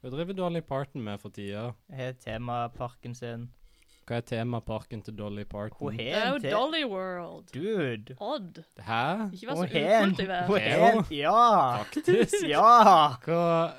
Hva driver Dolly Parton med for tida? Har temaparken sin. Hva er temaparken til Dolly Hun Parton? har Det er jo en te- Dolly World. Dude. Odd. Hæ? Ikke vær Hun så har en ukultiver. hun har en- Ja! Faktisk? Ja! Hva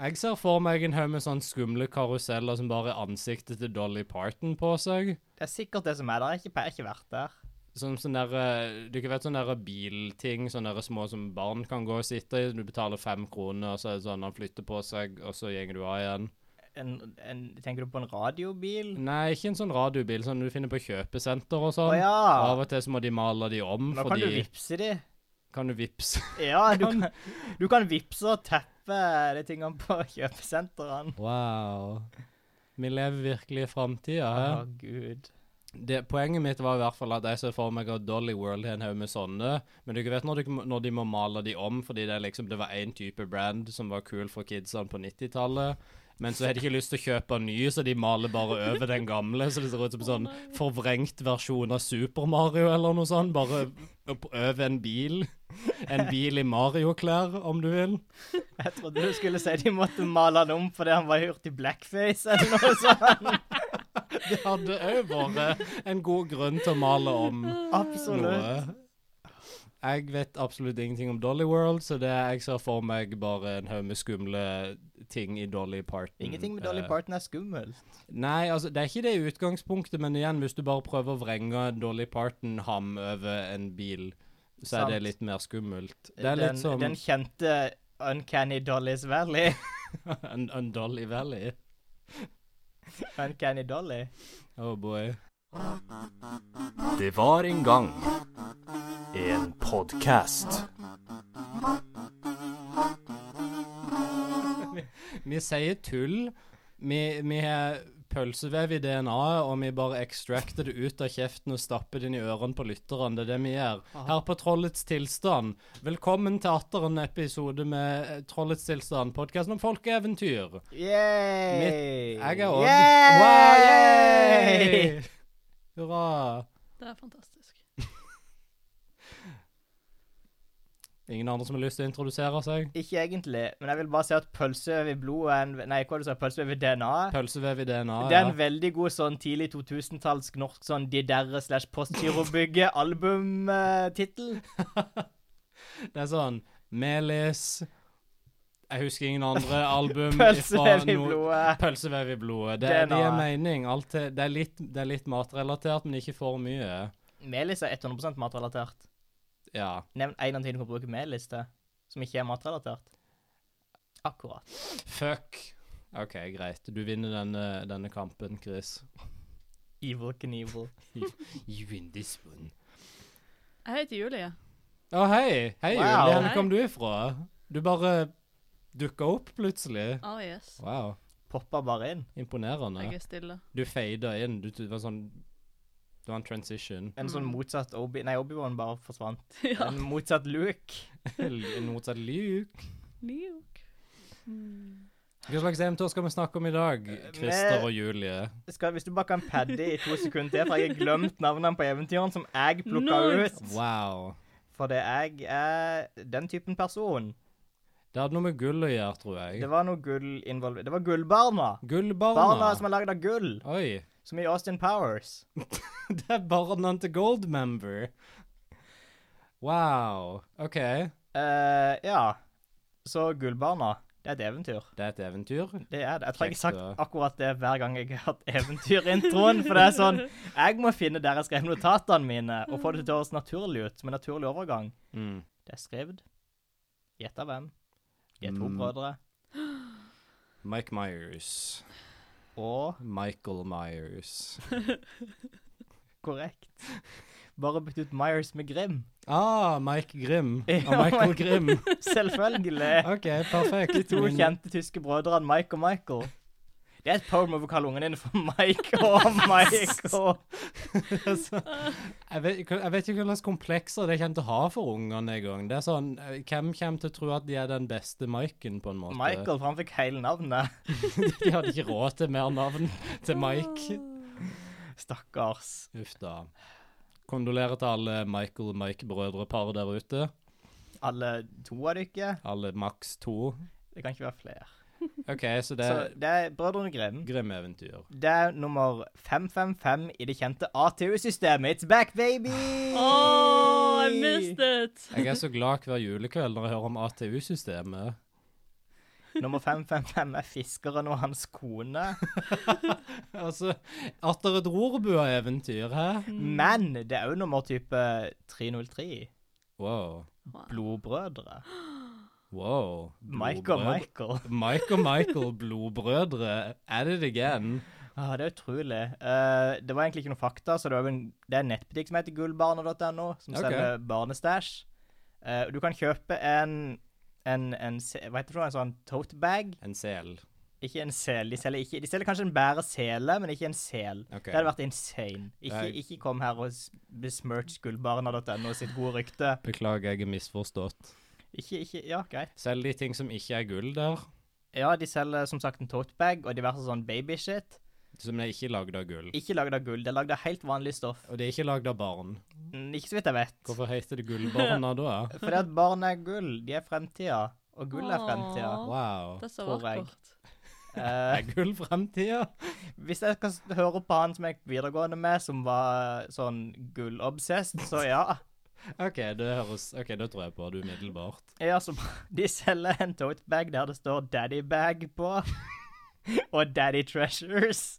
Jeg ser for meg en haug med sånne skumle karuseller som bare er ansiktet til Dolly Parton på seg. Det er sikkert det som er der. Jeg har ikke, pe- jeg har ikke vært der. Som sånn derre Du ikke vet sånne derre bilting, sånne derre små som barn kan gå og sitte i. Du betaler fem kroner, og så er det sånn han flytter på seg, og så gjenger du av igjen. En, en, tenker du på en radiobil? Nei, ikke en sånn radiobil som du finner på kjøpesenter og sånn. Å ja! Av og til så må de male de om, Nå kan fordi du vippse de. Kan du vippse? Ja, du kan, du kan vippse og teppe de tingene på kjøpesentrene. Wow. Vi lever virkelig i framtida. Å, Ja. gud. det, poenget mitt var i hvert fall at jeg ser for meg at Dolly World har en haug med sånne, men du vet når de, når de må male de om, fordi det, er liksom, det var én type brand som var kul for kidsene på 90-tallet. Men så har de ikke lyst til å kjøpe en ny, så de maler bare over den gamle. Så det ser ut som en sånn forvrengt versjon av Super Mario eller noe sånt. Bare opp- over en bil. En bil i Mario-klær, om du vil. Jeg trodde du skulle si de måtte male han om fordi han var gjort i blackface eller noe sånt. Det hadde òg vært en god grunn til å male om. Absolutt. Noe. Jeg vet absolutt ingenting om Dolly World, så det er- jeg ser for meg bare en haug med skumle ting i Dolly Parton. Ingenting med Dolly Eh, Parton er skummelt. Nei, altså, det er ikke det i utgangspunktet, men igjen, hvis du bare prøver å vrenge Dolly Parton-ham over en bil, så er det Sant. litt mer skummelt. Det er Den, litt som den kjente Uncanny Dollys Valley. en, en Dolly Valley. Uncanny Dolly. Oh boy. Det var en gang en podkast. Vi sier tull. Vi, vi har pølsevev i DNA-et, og vi bare extracter det ut av kjeften og stapper det inn i ørene på lytterne. Det er det vi gjør. Her på Trollets tilstand. Velkommen til atter en episode med eh, Trollets tilstand, podkasten om folkeeventyr. Yay! Jeg er Odd. Yay! Wow, yay! Hurra. Det er fantastisk. Ingen andre som har lyst til å introdusere seg? Ikke egentlig, men jeg vil bare si at pølseøv i blodet er en Nei, hva er det du sa? Pølseøv i DNA? Pølsevev i DNA, Det er en veldig god sånn tidlig 2000-talls norsk sånn De derre slash Postgirobygge albumtittel. Det er sånn Melis Jeg husker ingen andre album Pølsevev ifra i no- blodet. Pølsevev i blodet. Det, er- det gir DNA. mening. Alt er, det, er litt, det er litt matrelatert, men ikke for mye. Melis er 100 matrelatert. Ja. Nevn en annen ting du kan bruke melis til, som ikke er matrelatert. Akkurat. Fuck. OK, greit. Du vinner denne, denne kampen, Chris. Evil Knievel. You win this one. Jeg heter Julie. Å, hei! Hei, Wow. Julie. Hvor Hei. kom du ifra? Du bare dukka opp plutselig. Oh yes. Wow. Popper bare inn. Jeg Imponerende. er stille. Du fada inn. Du, du var sånn Du var en transition. En sånn motsatt Obi... Nei, Obi-Wan bare forsvant. ja. En motsatt Luke. En motsatt Luke. Luke. Hva slags eventyr skal vi snakke om i dag, Eh, Christer og Julie? Skal, hvis du bare kan padde i to sekunder til, for jeg har glemt navnene på eventyrene som jeg plukka Nerds. ut. Wow. Fordi jeg er den typen person. Det hadde noe med gull å gjøre, tror jeg. Det var noe gull involvert Det var gullbarna. Gullbarna. Barna som er lagd av gull. Oi. Som i Austin Powers. Det er barna til Goldmember. Wow. OK. Det eh, ja. Så Gullbarna, det er et eventyr. er et eventyr. Det er det. Jeg tror Kjekt, jeg har ja. sagt akkurat det hver gang jeg har hatt eventyrintroen. For det er sånn Jeg må finne der jeg skrev notatene mine, og få det til å høres naturlig ut. Som en naturlig overgang. Mm. Det er skrevet. Gjett av hvem? De er to Mm. brødre. Mike Myers. Og Michael Myers. korrekt. Bare bytt ut Myers med Grim. Ah, Mike Grimm. Ja, Og Michael Mike- Grimm. Selvfølgelig. OK, perfekt. Mm. De to Men- kjente tyske brødrene Mike og Michael. Det er et poem over å kalle ungene dine for Mike og Michael. Altså, jeg, vet, ikke- jeg vet ikke hvilke komplekser det kommer til å ha for ungene en gang. Det er sånn, eh, Hvem kommer til å tro at de er den beste Mike-en, på en måte? Michael, for han fikk hele navnet. De hadde ikke råd til mer navn til Mike. Stakkars. Uff da. Kondolerer til alle Michael og Mike-brødrepar der ute. Alle to av dere. Alle maks to. Det kan ikke være flere. OK, så det Så er det er Brødrene Grim. Grim Eventyr. Det er nummer 555 i det kjente ATU-systemet. It's back, baby! Oh, I missed it! Jeg er så glad hver julekveld når jeg hører om ATU-systemet. Nummer 555 er fiskeren og hans kone. Altså, atter et rorbua-eventyr, Mm. hæ? Men det er òg nummer type 303. Wow. Blodbrødre. Wow. Mike og Blodbrød- Michael. Mike og Michael, blodbrødre. At it again. Ah, det er utrolig. Eh, det var egentlig ikke noe fakta, så det er, jo en, det er en nettbutikk som heter gullbarna.no, som Ok. selger barnestæsj. Eh, og du kan kjøpe en, en, en se- Hva heter det? for noe? En sånn tote bag? En sel. Ikke en sel. De selger, ikke, de selger kanskje en bære sele, men ikke en sel. Ok. Det hadde vært insane. Ikke, Jeg- ikke kom her og s- besmirch gullbarna.no sitt gode rykte. Beklager, jeg er misforstått. Ikke, ikke, ja, greit. Selv de ting som ikke er gull der, Ja, de selger som sagt en tote bag og diverse sånn babyshit. som er ikke lagd av gull. Ikke lagd av gull, det er lagd av helt vanlig stoff. Og det er ikke lagd av barn. Mm, Ikke så vidt jeg vet. Hvorfor heter det gullbarna da? Fordi at barn er gull, de er fremtida. Og gull er fremtida. Åh. Wow. Det er så Tror jeg. vakkert. Eh, Er gull fremtida? hvis jeg skal s- høre på han som jeg gikk videregående med, som var sånn gullobsessed, så ja. OK, det høres OK, da tror jeg på det umiddelbart. ja så, de selger en tote bag der det står 'daddy bag' på. Og 'daddy treasures'.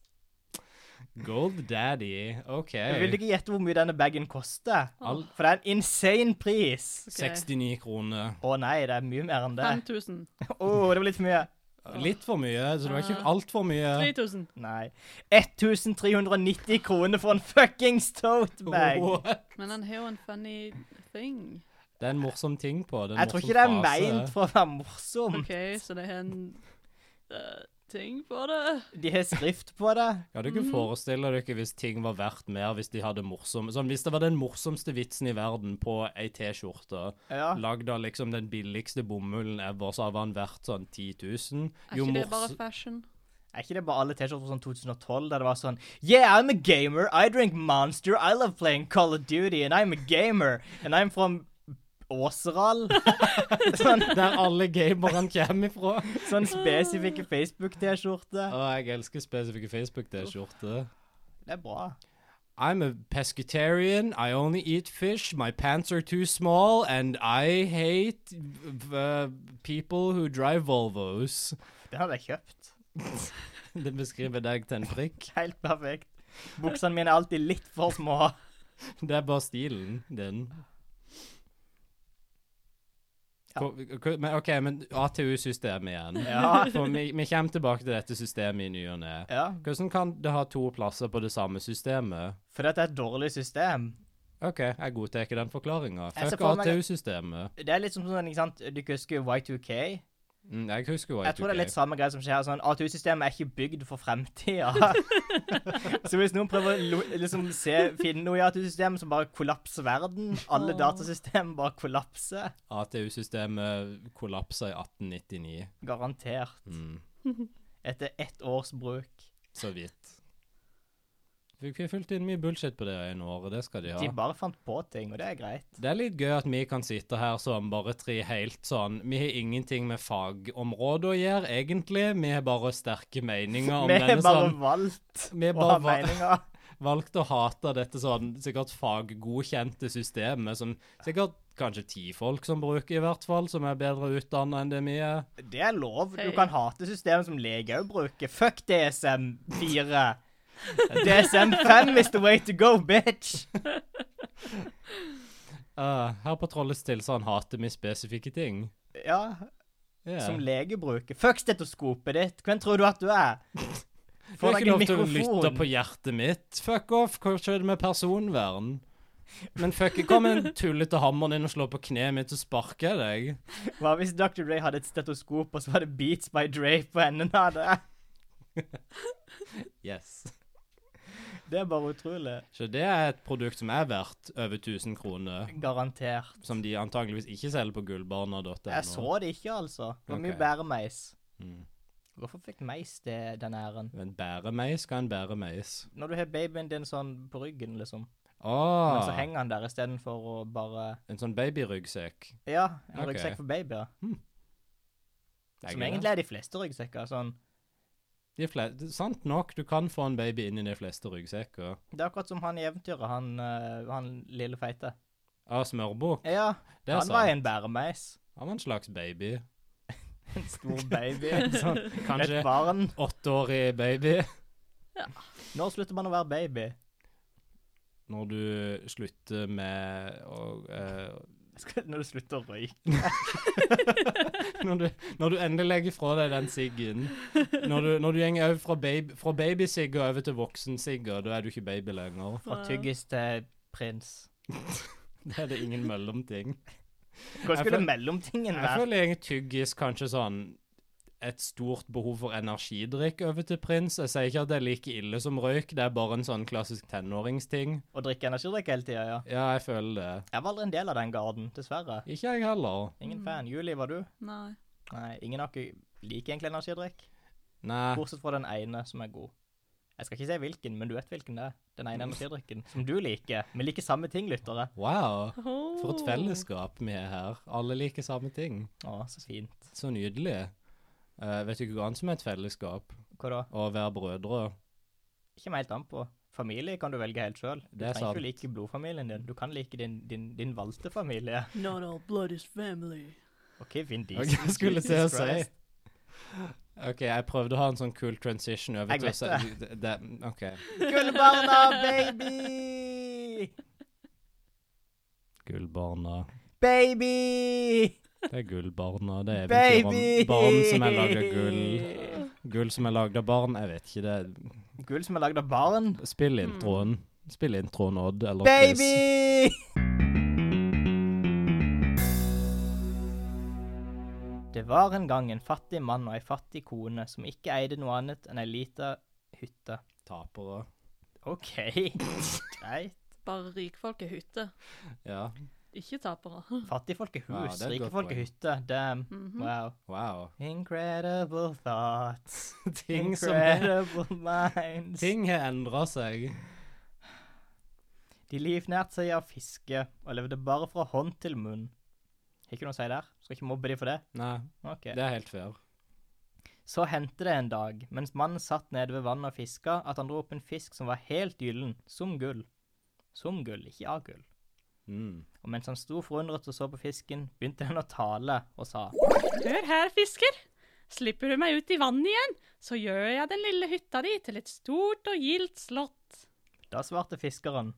Gold Daddy. OK. Jeg vil ikke gjette hvor mye denne bagen koster. All- For det er en insane pris. Ok. 69 kroner. Å nei, det er mye mer enn det. 5000. Å, det var litt for mye. Litt for mye, så det var ikke Ah. altfor mye. 3000. Nei. 1390 kroner for en fuckings tote bag. What? Men han har jo en funny thing. Det er en morsom ting på. Det er en Jeg tror morsom ikke det er frase. meint for å være morsom. Mm. OK, så det er en eh, ting på det. De har skrift på det. Kan du ikke Mm. forestille dere hvis ting var verdt mer hvis de hadde morsom Sånn, Hvis det var den morsomste vitsen i verden på ei T-skjorte, Ja. lagd av liksom den billigste bomullen ever, så var den verdt sånn 10 000 Er Jo ikke det bare mors... fashion? Er ikke det bare alle T-skjorter fra sånn 2012 der det var sånn Yeah, I'm a gamer. I drink Monster. I love playing Call of Duty. And I'm a gamer. And I'm from Åseral. sånn, Der alle gamerne kommer ifra. sånn spesifikke Facebook-T-skjorter. Å, jeg elsker spesifikke Facebook-T-skjorter. Det er bra. I'm a pescatarian, I only eat fish, my pants are too small, and I hate uh, people who drive Volvos. Den hadde jeg kjøpt. Det beskriver deg til en prikk. Helt perfekt. Buksene mine er alltid litt for små. Det er bare stilen din. Hvor- hvor- Men, OK, men ATU-systemet igjen. Ja. For vi, vi kommer tilbake til dette systemet i ny og ne. ja. Hvordan kan det ha to plasser på det samme systemet? For dette er et dårlig system. OK, jeg godtar den forklaringa. Jeg ser Fuck for meg- ATU-systemet. Det er litt som sånn, ikke sant, du husker Y2K? Mm, jeg husker jo Jeg tror det er litt Y2K. samme greie som skjer. her, Sånn, ATU-systemet er ikke bygd for fremtida. så hvis noen prøver å lo- liksom se, finne noe i ATU-systemet som bare kollapser verden Alle Åh. datasystem bare kollapser. ATU-systemet kollapsa i 1899. Garantert. Mm, Etter ett års bruk. så vidt. Vi har fulgt inn mye bullshit på det ene året, det skal de ha. De bare fant på ting, og det er greit. Det er litt gøy at vi kan sitte her som bare tre helt sånn Vi har ingenting med fagområdet å gjøre, egentlig. Vi har bare sterke meninger om Vi denne har bare sånn valgt Vi har å ha bare va- meninger. valgt å hate dette sånn sikkert faggodkjente systemet som sikkert kanskje ti folk som bruker, i hvert fall, som er bedre utdanna enn det vi er. Det er lov. Du Hei. kan hate systemet som leger òg bruker. Fuck DSM4. DSM5 is the way to go, bitch. Eh, her på Trollets tilstand hater vi spesifikke ting. Ja, Yeah. som lege bruker. Fuck stetoskopet ditt! Hvem tror du at du er? Du Få har deg ikke en lov til å mikrofon. lytte på hjertet mitt. Fuck off, hva skjedde med personvern? Men fuck, kom med den tullete hammeren inn og slå på kneet mitt, så sparker jeg deg. Hva hvis Dr. Dre hadde et stetoskop, og så var det Beats by Dre på enden av det? Yes. Det er bare utrolig. Så det er et produkt som er verdt over 1000 kroner, Garantert. som de antageligvis ikke selger på gullbarna.no. Jeg så det ikke, altså. Det var mye Ok. bedre meis. Mm. Hvorfor fikk meis det, den æren? Men bæremeis skal en bæremeis. Når du har babyen din sånn på ryggen, liksom, men altså, så Åh, henger han der istedenfor å bare en sånn babyryggsekk. Ja, en Ok. ryggsekk for babyer. Hmm. Det er Som gøy, egentlig er de fleste ryggsekker. sånn. De fle- det er sant nok, du kan få en baby inn i de fleste ryggsekker. Det er akkurat som han i eventyret, han, eh, han lille feite. Ah, smørbukk. Ja, Det er han var sant. en bæremeis. Han var en slags baby. En stor baby. Sånn, kanskje Et barn. åtteårig baby. Når slutter man å være baby? Når du slutter med å eh, Skal- Når du slutter å røyke. når, du, når du endelig legger fra deg den siggen. Når du, når du går over fra, baby, fra babysigger over til voksensigger, da er du ikke baby lenger. Fra Wow. tyggis til prins. Da er det ingen mellomting. Hva Jeg skulle føl- mellomtingen Jeg være? føler egentlig tyggis kanskje sånn et stort behov for energidrikk over til prins. Jeg sier ikke at det er like ille som røyk, det er bare en sånn klassisk tenåringsting. Å drikke energidrikk hele tida, ja. Ja, jeg føler det. Jeg var aldri en del av den garden, dessverre. Ikke jeg heller. Ingen fan. Julie, var du? Nei. Nei, ingen av dere liker egentlig energidrikk. Nei. Bortsett fra den ene som er god. Jeg skal ikke si hvilken, men du vet hvilken det er. Den ene Mm. energidrikken som du liker. Vi liker samme ting, lyttere. Wow. Oh. For et fellesskap vi er her. Alle liker samme ting. Å, så fint. Så nydelig. Eh, vet du ikke hva annet som er et fellesskap? Hva da? Å være brødre. Ikke meg helt an på. Familie kan du velge helt sjøl. Du Det er trenger ikke å like blodfamilien din. Du kan like din, din, din valgte familie. Not all blood is family. OK, Vin Ok, Diesel. jeg skulle til å Jesus si. Christ. OK, jeg prøvde å ha en sånn cool transition over Jeg til å vet si det. det. OK. Gullbarna, baby! Gullbarna. Baby! Det er gullbarna. Det er eventyr om Baby! barn som er lagd av gull. Gull som er lagd av barn. Jeg vet ikke det. Gull som er lagd av barn. Spill introen. Spill introen, Odd. Eller Chris. Hmm. Baby! Det var en gang en fattig mann og ei fattig kone som ikke eide noe annet enn ei lita hytte. Tapere. OK, greit. Bare rikfolk er hytte. Ja. Ikke tapere. Fattigfolk er Ja, hus, det er et rike godt folk er poeng. hytte. Damn. Mhm. Wow. Wow. Incredible thoughts. Ting som er Incredible minds. Ting har endra seg. De livnærte seg av fiske og levde bare fra hånd til munn. Har ikke noe å si der? Skal ikke mobbe de for det? Nei, Ok. det er helt fair. Så hendte det en dag, mens mannen satt nede ved vannet og fiska, at han dro opp en fisk som var helt gyllen, som gull. Som gull, ikke av gull. Mm. Og mens han sto forundret og så på fisken, begynte den å tale og sa Hør her, fisker. Slipper du meg ut i vannet igjen, så gjør jeg den lille hytta di til et stort og gildt slott. Da svarte fiskeren,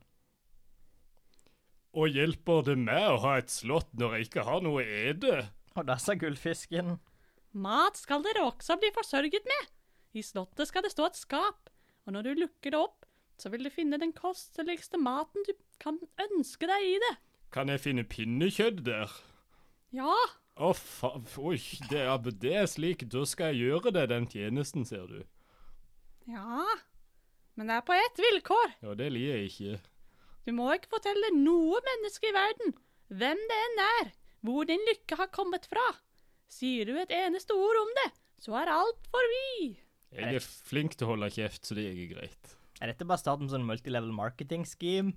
Og hjelper det meg å ha et slott når jeg ikke har noe å ete? og da sa gullfisken, Mat skal dere også bli forsørget med. I slottet skal det stå et skap, og når du lukker det opp, så vil du finne den kosteligste maten du kan ønske deg i det. Kan jeg finne pinnekjøtt der? Ja, Å, faen. Oi, det er, det er slik. Da skal jeg gjøre deg den tjenesten, ser du. ja. Men det er på ett vilkår. Ja, det liker jeg ikke. Du må ikke fortelle noe menneske i verden, hvem det enn er, hvor din lykke har kommet fra. Sier du et eneste ord om det, så er alt forbi. Jeg er flink til å holde kjeft, så det er greit. er dette bare starten på sånn multilevel marketing scheme?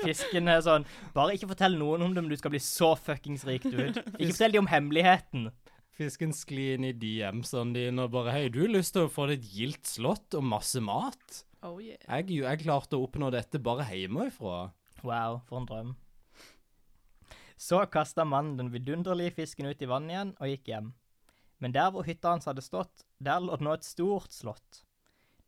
Fisken er sånn Bare ikke fortell noen om det, men du skal bli så fuckings rik, dude. Ikke fortell de om hemmeligheten. Fisken sklir inn i DM-ene dine og bare Hei, du har lyst til å få deg et gildt slott og masse mat? Oh yeah. Jeg, jeg klarte å oppnå dette bare hjemmefra. Wow, for en drøm. Så kasta mannen den vidunderlige fisken ut i vannet igjen og gikk hjem. Men der hvor hytta hans hadde stått, der lå det nå et stort slott.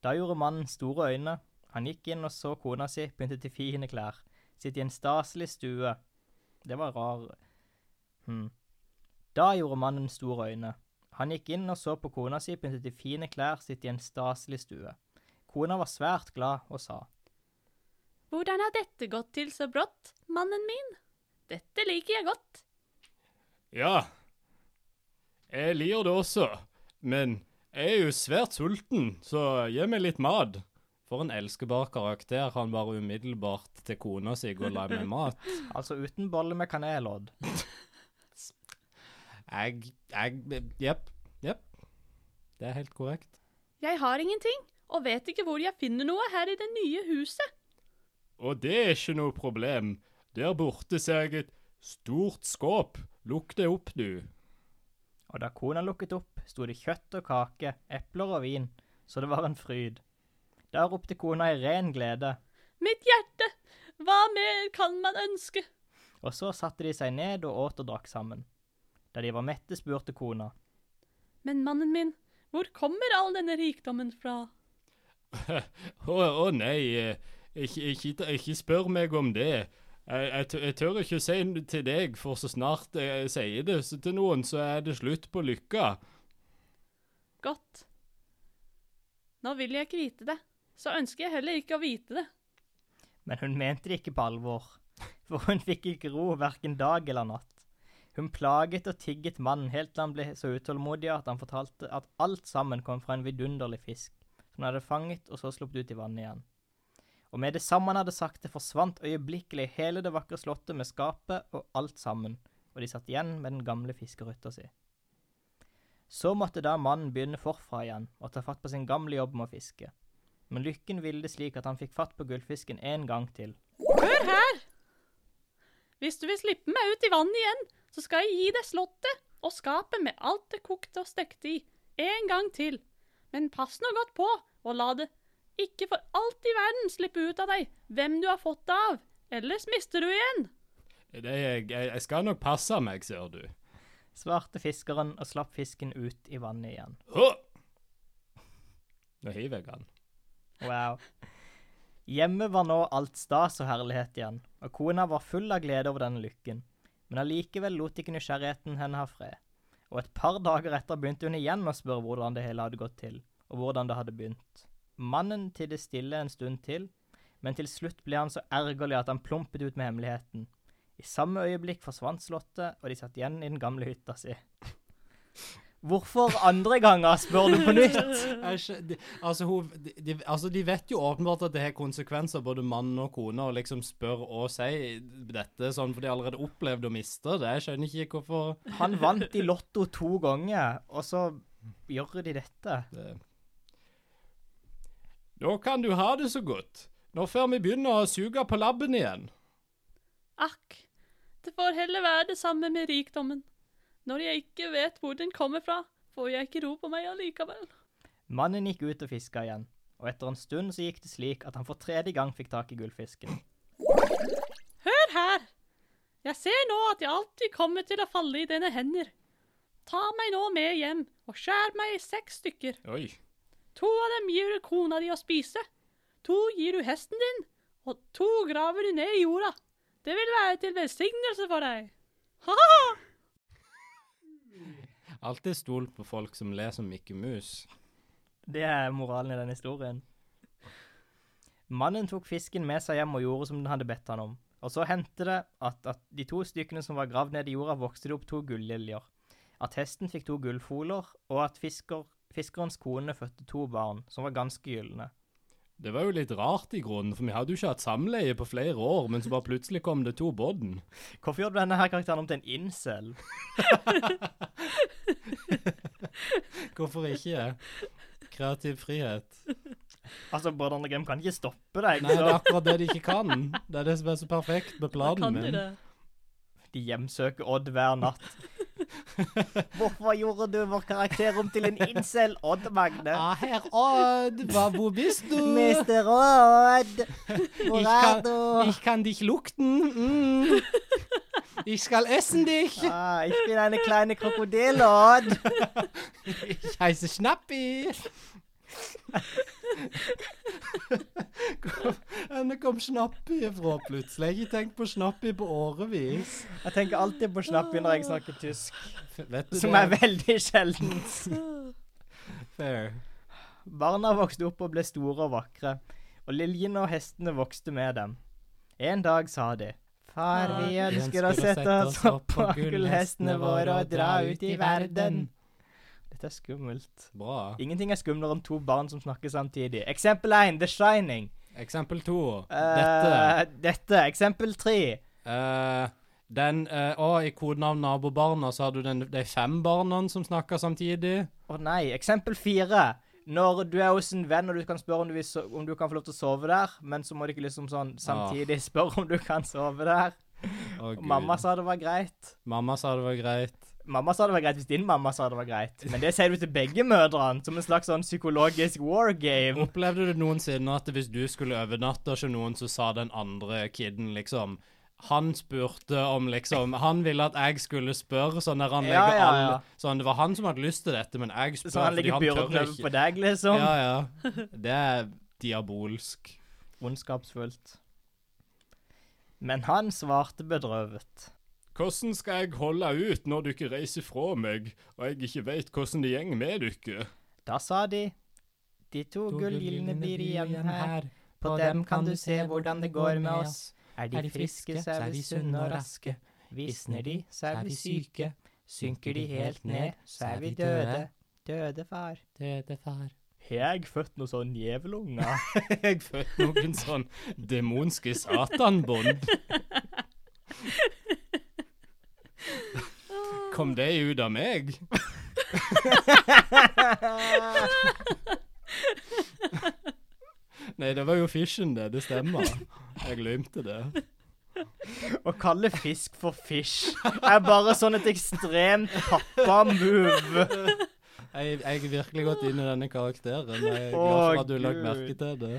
Da gjorde mannen store øyne. Han gikk inn og så kona si pyntet i fine klær, sitte i en staselig stue. Det var rar Hm. Da gjorde mannen store øyne. Han gikk inn og så på kona si pyntet i fine klær, sitte i en staselig stue. Kona var svært glad og sa. Hvordan har dette gått til så brått, mannen min? Dette liker jeg godt. Ja, jeg liker det også, men jeg er jo svært sulten, så gi meg litt mat. For en elskbar karakter. Han bare umiddelbart til kona si går og la meg mat. Altså uten bolle med kanelodd. Jeg Jeg Jepp. Jepp. Det er helt korrekt. Jeg har ingenting, og vet ikke hvor jeg finner noe her i det nye huset. Og det er ikke noe problem. Der borte ser jeg et stort skåp. Lukk det opp, du. og da kona lukket opp, sto det kjøtt og kake, epler og vin, så det var en fryd. Da ropte kona i ren glede, Mitt hjerte! Hva mer kan man ønske? og så satte de seg ned og åt og drakk sammen. Da de var mette, spurte kona. Men mannen min, hvor kommer all denne rikdommen fra? Å å nei, eh, ikke, ikke, ikke spør meg om det. Jeg, jeg, tør- jeg tør ikke å si n- til deg, for så snart jeg sier det s- til noen, så er det slutt på lykka. Godt. Nå vil jeg ikke vite det. Så ønsker jeg heller ikke å vite det. Men hun mente det ikke på alvor, for hun fikk ikke ro hverken dag eller natt. Hun plaget og tigget mannen helt til han ble så utålmodig at han fortalte at alt sammen kom fra en vidunderlig fisk, som han hadde fanget og så sluppet ut i vannet igjen. Og med det samme han hadde sagt det, forsvant øyeblikkelig hele det vakre slottet med skapet og alt sammen, og de satt igjen med den gamle fiskerytta si. Så måtte da mannen begynne forfra igjen og ta fatt på sin gamle jobb med å fiske men lykken ville det slik at han fikk fatt på gullfisken en gang til. Hør her! Hvis du vil slippe meg ut i vannet igjen, så skal jeg gi deg slottet og skapet med alt det kokte og stekte i, en gang til. Men pass nå godt på, og la det ikke for alt i verden slippe ut av deg hvem du har fått det av, ellers mister du igjen. Det, jeg, jeg jeg skal nok passe meg, ser du. Svarte fiskeren og slapp fisken ut i vannet igjen. Hå! Nå hiver jeg han. Wow. Hjemme var nå alt stas og herlighet igjen, og kona var full av glede over denne lykken. Men allikevel lot ikke nysgjerrigheten henne ha fred. Og et par dager etter begynte hun igjen å spørre hvordan det hele hadde gått til, og hvordan det hadde begynt. Mannen tidde stille en stund til, men til slutt ble han så ergerlig at han plumpet ut med hemmeligheten. I samme øyeblikk forsvant slottet, og de satt igjen i den gamle hytta si. Hvorfor andre ganger, spør du på nytt? Jeg skj- de, altså, hun, de, de, altså, de vet jo åpenbart at det har konsekvenser, både mann og kone, å liksom spørre og si dette, sånn, for de har allerede opplevd å miste det. Jeg skjønner ikke hvorfor Han vant i Lotto to ganger, og så gjør de dette. Det. Nå kan du ha det så godt. Nå får vi begynne å suge på labben igjen. Akk, det får heller være det samme med rikdommen. Når jeg ikke vet hvor den kommer fra, får jeg ikke ro på meg allikevel. Mannen gikk ut og fiska igjen, og etter en stund så gikk det slik at han for tredje gang fikk tak i gullfisken. Hør her! Jeg ser nå at jeg alltid kommer til å falle i dine hender. Ta meg nå med hjem og skjær meg i seks stykker. Oi. To av dem gir du kona di å spise. To gir du hesten din, og to graver du ned i jorda. Det vil være til velsignelse for deg. Ha-ha! Alltid stol på folk som ler som Mikke Mus. Det er moralen i denne historien. Mannen tok fisken med seg hjem og gjorde som den hadde bedt han om. Og så hendte det at, at de to stykkene som var gravd ned i jorda, vokste det opp to gulliljer. At hesten fikk to gullfoler, og at fisker, fiskerens kone fødte to barn, som var ganske gylne. Det var jo litt rart i grunnen, for vi hadde jo ikke hatt samleie på flere år, men så bare plutselig kom det to bodden. Hvorfor gjør du denne her karakteren om til en incel? Hvorfor ikke? Kreativ frihet. Altså, Brødrene Grim kan ikke stoppe deg. Nei, det Så er akkurat det de ikke kan. Det er det som er så perfekt med planen Kan de min. det? de hjemsøker Odd hver natt. Hvorfor gjorde du vår karakter om til en incel, Odd Magne? Ja, herr Odd, Ah, hva, hvor bist du? Mister Odd, hvor Ich er kann- du? Ich kann dich lukten. Mm. Ich skal essen dich. Ah, ich bin eine kleine Krokodille, Odd. Ich heiße Schnappi. Hvor kom Schnappi ifra plutselig? Jeg har ikke tenkt på Schnappi på årevis. Jeg tenker alltid på Snappi når jeg snakker tysk, Vet du som er det? veldig sjeldent. Fair. Barna vokste opp og ble store og vakre, og liljene og hestene vokste med dem. En dag sa de Far, vi ønsker å sette oss opp på gullhestene våre og dra ut i verden. Dette er skummelt. Bra. Ingenting er skumlere enn to barn som snakker samtidig. Eksempel 1, The Shining. Eksempel to. Dette. Eh, dette. Eksempel 3. Eh, den eh, Å, i koden av nabobarna så har du den, de fem barna som snakker samtidig. Å nei. Eksempel 4. Når du er hos en venn og du kan spørre om du, vil so om du kan få lov til å sove der, men så må du ikke liksom sånn samtidig spørre om du kan sove der. Å, Og Gud. mamma sa det var greit. Mamma sa det var greit. Mamma sa det var greit hvis din mamma sa det var greit. Men det sier du til begge mødrene, som en slags sånn psykologisk war game. Opplevde du noensinne at hvis du skulle overnatte hos noen, så sa den andre kiden liksom han spurte om liksom Han ville at jeg skulle spørre, sånn der han Ja, legger alle ja, ja. Sånn, det var han som hadde lyst til dette, men jeg spør Så han legger byrden tør over på deg, liksom. Ja, ja. Det er diabolsk. Ondskapsfullt. Men han svarte bedrøvet. Hvordan skal jeg holde ut når du ikke reiser fra meg, og jeg ikke vet hvordan det går med dere? Da sa de De to gullgylne blir igjen her. På dem kan du se hvordan det går med oss. Er de friske, så er vi sunne og raske. Visner de, så er vi syke. Synker de helt ned, så er vi døde. Døde, far. Døde far. Har jeg født noe sånn djevelunger? Jeg fødte noen sånn demonske satanbånd. Kom de ut av meg? Nei, det var jo fishen, det. Det stemmer. Jeg glemte det. Å kalle fisk for fish er bare sånn et ekstremt pappa-move. Jeg, jeg er virkelig gått inn i denne karakteren. og Jeg er Å, glad for at du la Gud. merke til det.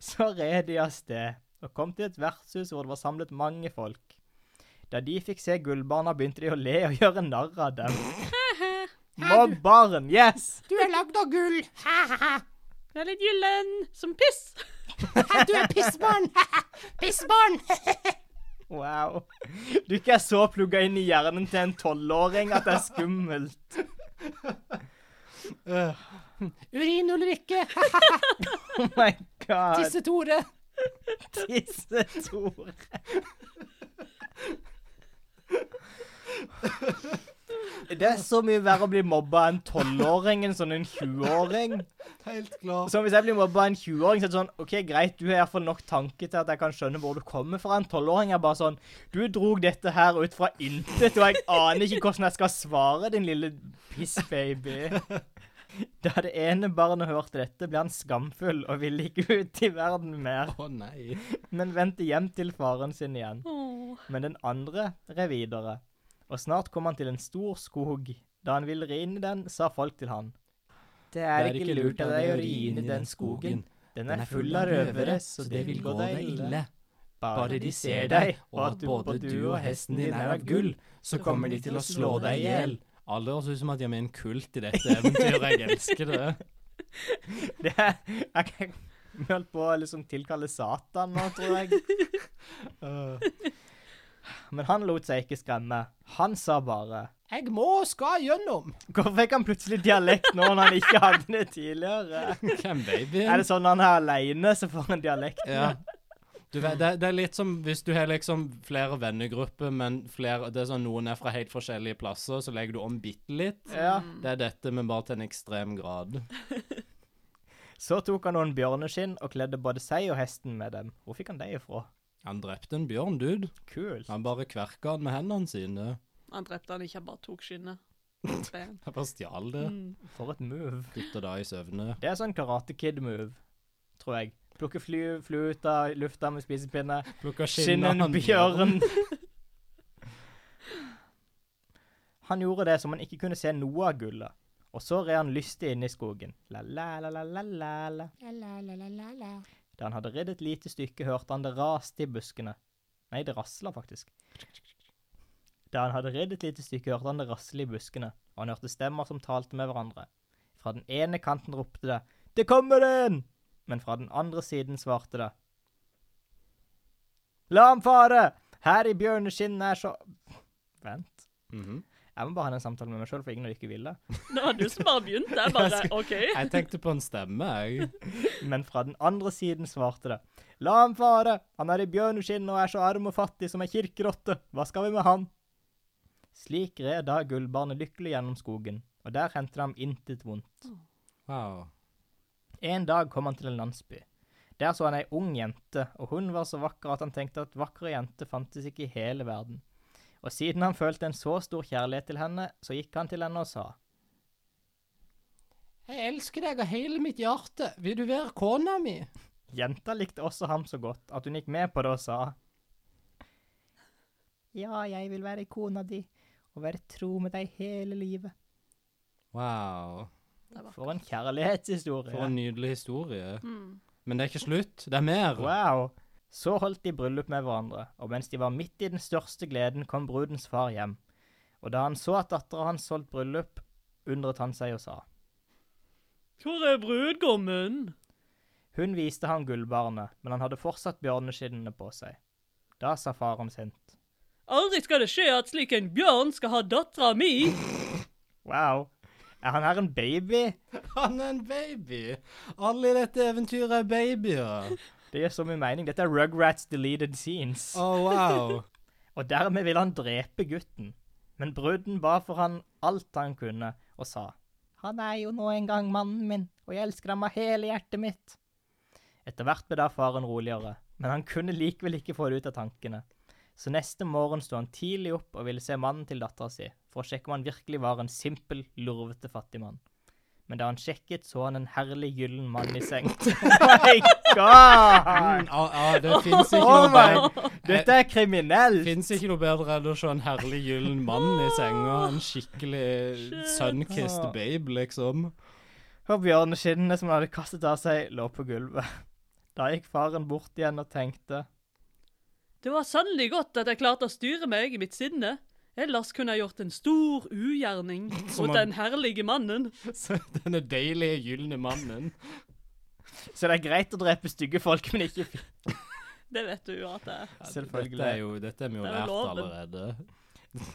Så red de av sted, og kom til et vertshus hvor det var samlet mange folk. Da de fikk se gullbarna, begynte de å le og gjøre narr av dem. Mobberen, yes! Du er lagd av gull. Ha-ha-ha. Det er litt gyllen som piss. Du er pissbarn. Ha-ha. Pissbarn. Wow. Du ikke er så plugga inn i hjernen til en tolvåring at det er skummelt. Eh. Urin Ulrikke. Ha, Oh my god. Tisse Tore. Tissetore. Det er så mye verre å bli mobba av en tolvåring enn sånn en 20-åring. Helt klart. Så hvis jeg blir mobba av en 20-åring, så er det sånn OK, greit, du har iallfall nok tanke til at jeg kan skjønne hvor du kommer fra. En 12-åring er bare sånn Du drog dette her ut fra intet, og jeg aner ikke hvordan jeg skal svare, din lille pissbaby. Da det ene barnet hørte dette, ble han skamfull og ville ikke ut i verden mer, Å nei. men vendte hjem til faren sin igjen. Åh. Men den andre red videre, og snart kom han til en stor skog. Da han ville ri inn i den, sa folk til han. Det er, ikke lurt av deg å ri inn i den skogen. Den er full av røvere, så det vil gå deg ille. Bare de ser deg, og at både du og hesten din er av gull, så kommer de til å slå deg i hjel. Alle høres ut som at de er med i en kult i dette eventyret. Jeg elsker det. Det er, jeg kan vi holdt på å liksom tilkalle Satan nå, tror jeg. Men han lot seg ikke skremme. Han sa bare Jeg må og skal gjennom. Hvorfor fikk han plutselig dialekt nå når han ikke hadde det tidligere? Hvem Er babyen? det sånn når han er aleine, så får han dialekt? Ja. Du vet, det, det er litt som hvis du har liksom flere vennegrupper, men flere, det er sånn noen er fra helt forskjellige plasser, så legger du om bitte litt. Ja. Mm. Det er dette, men bare til en ekstrem grad. Så tok han noen bjørneskinn og kledde både seg og hesten med dem. Hvor fikk han det ifra? Han drepte en bjørn, dude. Kult. Han bare kverka han med hendene sine. Han drepte han ikke, han bare tok skinnet. Bam. Han bare stjal det. Mm. For et move. Dytta det i søvne. Det er sånn Karate Kid-move, tror jeg. Plukke fly, fly ut av lufta med spisepinne. Plukka Skinnen bjørn. Han gjorde det som han ikke kunne se noe av gullet. Og så red han lystig inn i skogen. La, la, la, la, la, la, la. La-la-la-la-la. Da han hadde ridd et lite stykke, hørte han det raste i buskene. Nei, det rasla faktisk. Da han hadde ridd et lite stykke, hørte han det rasle i buskene, og han hørte stemmer som talte med hverandre. Fra den ene kanten ropte det 'Det kommer en!', men fra den andre siden svarte det 'La ham fare! Her i bjørneskinnet er så Vent. Jeg må bare ha den samtalen med meg sjøl, for ingen av dere ikke ville. Det var du som bare begynte. Jeg bare OK. Jeg tenkte på en stemme, jeg. Men fra den andre siden svarte det. La ham fare, han er i bjørneskinn og er så arm og fattig som ei kirkerotte, hva skal vi med ham? Slik red da gullbarnet lykkelig gjennom skogen, og der hendte det ham intet vondt. Wow. En dag kom han til en landsby. Der så han ei ung jente, og hun var så vakker at han tenkte at vakre jenter fantes ikke i hele verden. Og siden han følte en så stor kjærlighet til henne, så gikk han til henne og sa. Jeg elsker deg av hele mitt hjerte. Vil du være kona mi? Jenta likte også ham så godt at hun gikk med på det og sa Ja, jeg vil være kona di, og være tro med deg hele livet. Wow. Det var For en kjærlighetshistorie. For en nydelig historie. mm. Men det er ikke slutt. Det er mer. Wow. Så holdt de bryllup med hverandre, og mens de var midt i den største gleden, kom brudens far hjem. Og da han så at dattera hans holdt bryllup, undret han seg og sa. Hvor er brudgommen? Hun viste ham gullbarnet, men han hadde fortsatt bjørneskinnene på seg. Da sa faren sint. Aldri skal det skje at slik en bjørn skal ha dattera mi. Wow. Er han her en baby? Han er en baby. Alle i dette eventyret er babyer. Det gir så mye mening. Dette er Rugrats deleted scenes. Å, Oh, wow. Og dermed ville han drepe gutten. Men bruden ba for han alt han kunne, og sa. Han er jo nå en gang mannen min, og jeg elsker ham av hele hjertet mitt. Etter hvert ble da faren roligere, men han kunne likevel ikke få det ut av tankene. Så neste morgen sto han tidlig opp og ville se mannen til dattera si, for å sjekke om han virkelig var en simpel, lurvete fattigmann. Men da han sjekket, så han en herlig gyllen mann i seng. Oh my god! Mm, ah, ah, det fins ikke Oh noe bedre. my. Dette er kriminelt! Fins ikke noe bedre enn å se en herlig gyllen mann i senga. En skikkelig sunkissed Ah. babe, liksom. og bjørneskinnene som han hadde kastet av seg, lå på gulvet. Da gikk faren bort igjen og tenkte. Det var sannelig godt at jeg klarte å styre meg i mitt sinne. Ellers kunne jeg gjort en stor ugjerning Som mot han- den herlige mannen. Så Denne deilige gylne mannen. Så det er greit å drepe stygge folk, men ikke fi- Det vet du jo at det er. Selvfølgelig. Dette er jo, dette er vi jo Det er lært jo loven. allerede.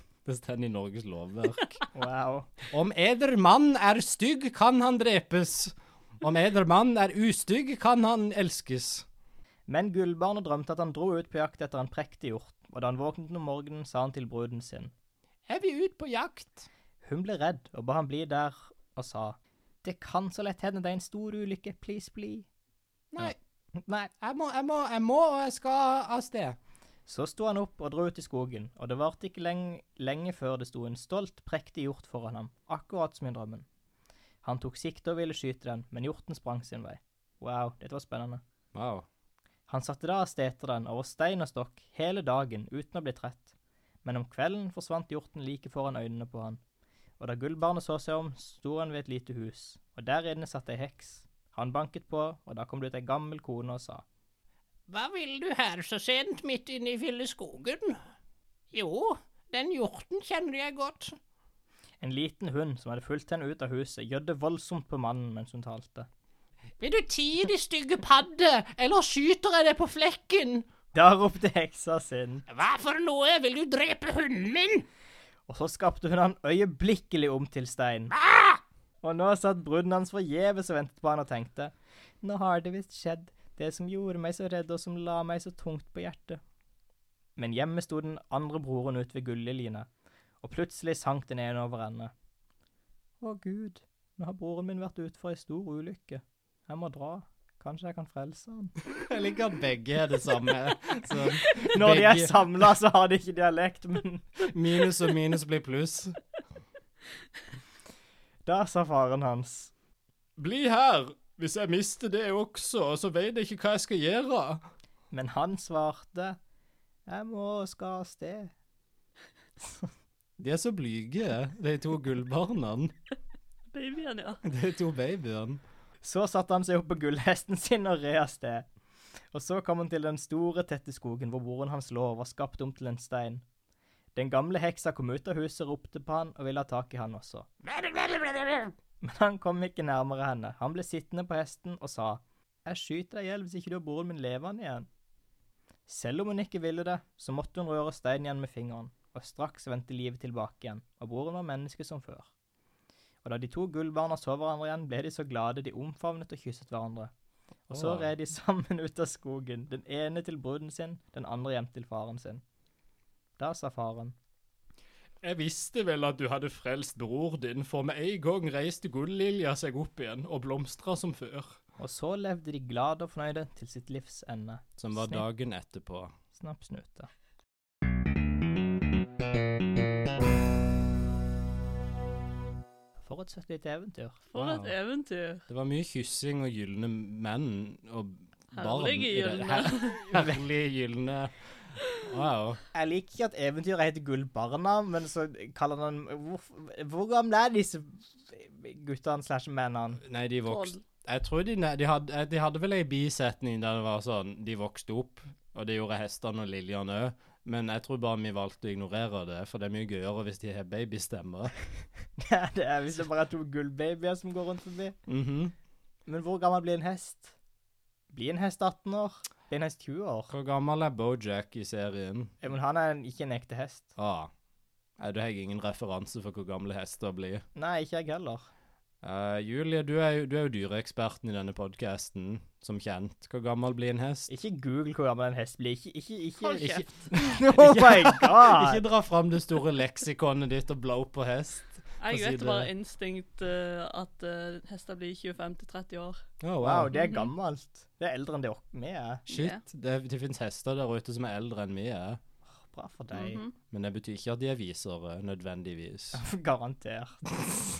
Det står i Norges lovverk. Wow. Om eder mann er stygg, kan han drepes. Om eder mann er ustygg, kan han elskes. Men gullbarnet drømte at han dro ut på jakt etter en prektig hjort, og da han våknet om morgenen, sa han til bruden sin. Er vi ute på jakt? Hun ble redd og ba han bli der, og sa. Det kan så lett hende det er en stor ulykke, please bli. Nei. Nei. Jeg må, jeg må, jeg må, og jeg skal av sted. Så sto han opp og dro ut i skogen, og det varte ikke lenge, lenge før det sto en stolt, prektig hjort foran ham, akkurat som i drømmen. Han tok sikte og ville skyte den, men hjorten sprang sin vei. Wow, dette var spennende. Wow. Han satte da av sted etter den over stein og stokk hele dagen uten å bli trett, men om kvelden forsvant hjorten like foran øynene på han. Og da gullbarnet så seg om, sto han ved et lite hus, og der inne satt ei heks. Han banket på, og da kom det ut ei gammel kone og sa. Hva vil du her så sent midt inne i ville skogen? Jo, den hjorten kjenner jeg godt. En liten hund som hadde fulgt henne ut av huset, gjødde voldsomt på mannen mens hun talte. Vil du tie de stygge padde, eller skyter jeg deg på flekken? Da ropte heksa sin, Hva for noe, vil du drepe hunden min? og så skapte hun han øyeblikkelig om til stein. Ah! Og nå satt bruden hans forgjeves og ventet på han og tenkte. Nå har det visst skjedd, det som gjorde meg så redd og som la meg så tungt på hjertet. Men hjemme sto den andre broren ut ved gulliljene, og plutselig sank den ene over ende. Å gud, nå har broren min vært ute for ei stor ulykke. Jeg må dra. Kanskje jeg kan frelse han. Jeg liker at begge er det samme. Så Når de er Begge. samla, så har de ikke dialekt, men minus og minus blir pluss. Da sa faren hans Bli her! Hvis jeg mister det også, og så vet jeg ikke hva jeg skal gjøre. Men han svarte Jeg må og skal av sted. De er så blyge, de to gullbarna. Babyen, ja. De to babyene. Så satte han seg opp på gullhesten sin og red av sted. Og så kom han til den store, tette skogen hvor broren hans lå og var skapt om til en stein. Den gamle heksa kom ut av huset, ropte på han og ville ha tak i han også. Men han kom ikke nærmere henne. Han ble sittende på hesten og sa Jeg skyter deg i hjel hvis ikke du har broren min levende igjen. Selv om hun ikke ville det, så måtte hun røre steinen igjen med fingeren, og straks vendte livet tilbake igjen, og broren var menneske som før. Og da de to gullbarna så hverandre igjen, ble de så glade de omfavnet og kysset hverandre. Og så Åh. red de sammen ut av skogen, den ene til bruden sin, den andre hjem til faren sin. Da sa faren, Jeg visste vel at du hadde frelst bror din, for med en gang reiste gullilja seg opp igjen og blomstra som før. og så levde de glade og fornøyde til sitt livs ende. Som var dagen etterpå. Snapp snute. For et søtt lite eventyr. For Wow. et eventyr. Det var mye kyssing og gylne menn og barn. Herlige i det- gylne. Her, herlige gylne Wow. Jeg liker ikke at eventyret heter Gullbarna, men så kaller han Hvor, hvor gamle er disse guttene slash mennene? Nei, de vokste Jeg tror de, nei, de, hadde, eh, de hadde vel ei bisetning der det var sånn De vokste opp, og det gjorde hestene og liljene òg. Men jeg tror bare vi valgte å ignorere det, for det er mye gøyere hvis de har babystemmer. det er hvis det bare er to gullbabyer som går rundt forbi. Mhm. Men hvor gammel blir en hest? Blir en hest 18 år? Blir en hest 20 år? Hvor gammel er Bojack i serien? Ja, Men han er en, ikke en ekte hest. Ah. Nei, Du har ingen referanse for hvor gamle hester blir. Nei, ikke jeg heller. Eh, Julie, du er, jo- du er jo dyreeksperten i denne podkasten, som kjent. Hvor gammel blir en hest? Ikke google hvor gammel en hest blir. Ikke, ikke, Hold ikke, kjeft. ikke. Oh my god! Ikke dra fram det store leksikonet ditt og blow på hest. Jeg Få si vet det. bare instinkt eh, at eh, hester blir 25-30 år. Oh, Wow, det er gammelt. Det er eldre enn det ok- vi er. Shit, det, det finnes hester der ute som er eldre enn vi er. Bra for deg. Men det betyr ikke at de er visere, nødvendigvis. Garantert.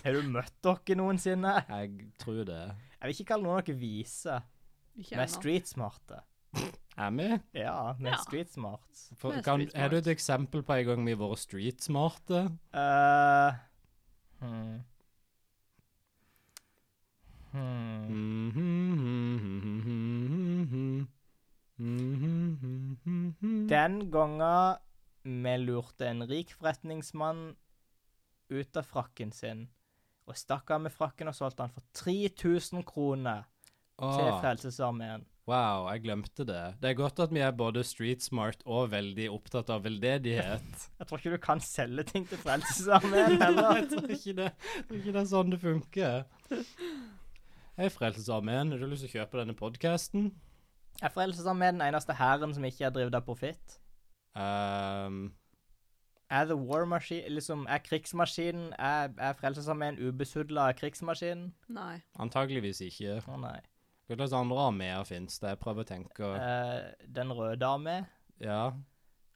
Har du møtt dere noensinne? Jeg tror det. Jeg vil ikke kalle noen av dere vise. Ikke Vi er ennå. streetsmarte. Er vi? Ja, vi Ja. er streetsmart. For, Vi er kan, streetsmart. har du et eksempel på en gang vi har vært streetsmarte? Uh, hmm. Hmm. Mm. Mm-hmm, mm-hmm, Den gangen vi lurte en rik forretningsmann ut av frakken sin, og stakk av med frakken og solgte han for 3000 kroner til Åh, Frelsesarmeen. wow, jeg glemte det. Det er godt at vi er både street smart og veldig opptatt av veldedighet. Jeg tror ikke du kan selge ting til Frelsesarmeen heller. jeg tror ikke det, jeg tror ikke det er sånn det funker. Hei, Frelsesarmeen. Har du lyst til å kjøpe denne podkasten? Er Frelsesarmeen den eneste hæren som ikke er drevet av profitt? Um, Er The War Machine liksom, Er krigsmaskinen Er, er Frelsesarmeen ubesudla krigsmaskinen? Nei. antageligvis ikke. Å nei. Hva slags andre armeer fins det? Jeg prøver å tenke Eh, den røde armé? Ja.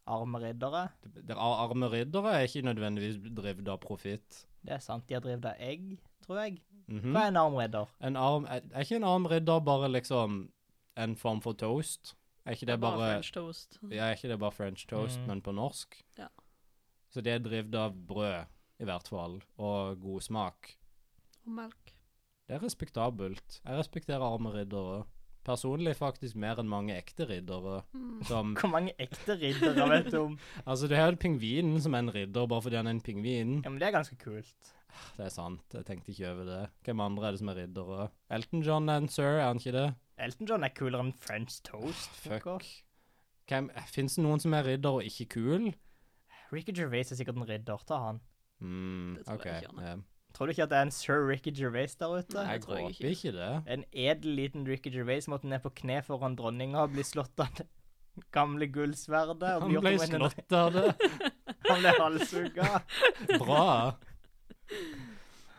Arme riddere? Det- det- ar- Arme riddere er ikke nødvendigvis drevet av profitt. Det er sant, de er drevet av egg, tror jeg. Mhm. Hva er en armridder? En arm Er er ikke en arm ridder bare liksom en form for toast? Er ikke det, bare bare French toast. Ja, er ikke det bare French toast, Mm. men på norsk? Ja. Så det er drevet av brød, i hvert fall, og god smak. Og melk. Det er respektabelt. Jeg respekterer arme riddere. Personlig faktisk mer enn mange ekte riddere. Som Hvor mange ekte riddere vet du om? Altså, du har jo pingvinen som er en ridder bare fordi han er en pingvin. Ja, men det er ganske kult. Det er sant. Jeg tenkte ikke over det. Hvem andre er det som er riddere? Elton John er en sir, er han ikke det? Elton John er kulere enn French Toast. Fuck. pokker. Hvem, finnes det noen som er ridder og ikke kul? Ricky Gervais er sikkert en ridder, ta han. Mm, Det tror jeg ok, ikke han er. ja. Tror du ikke at det er en sir Ricky Gervais der ute? Nei. Jeg tror jeg håper ikke. ikke det. En edel liten Ricky Gervais måtte ned på kne foran dronninga og bli slått av det gamle gullsverdet. og Han bli gjort ble om en- slått av det. Han ble halshugga. Bra.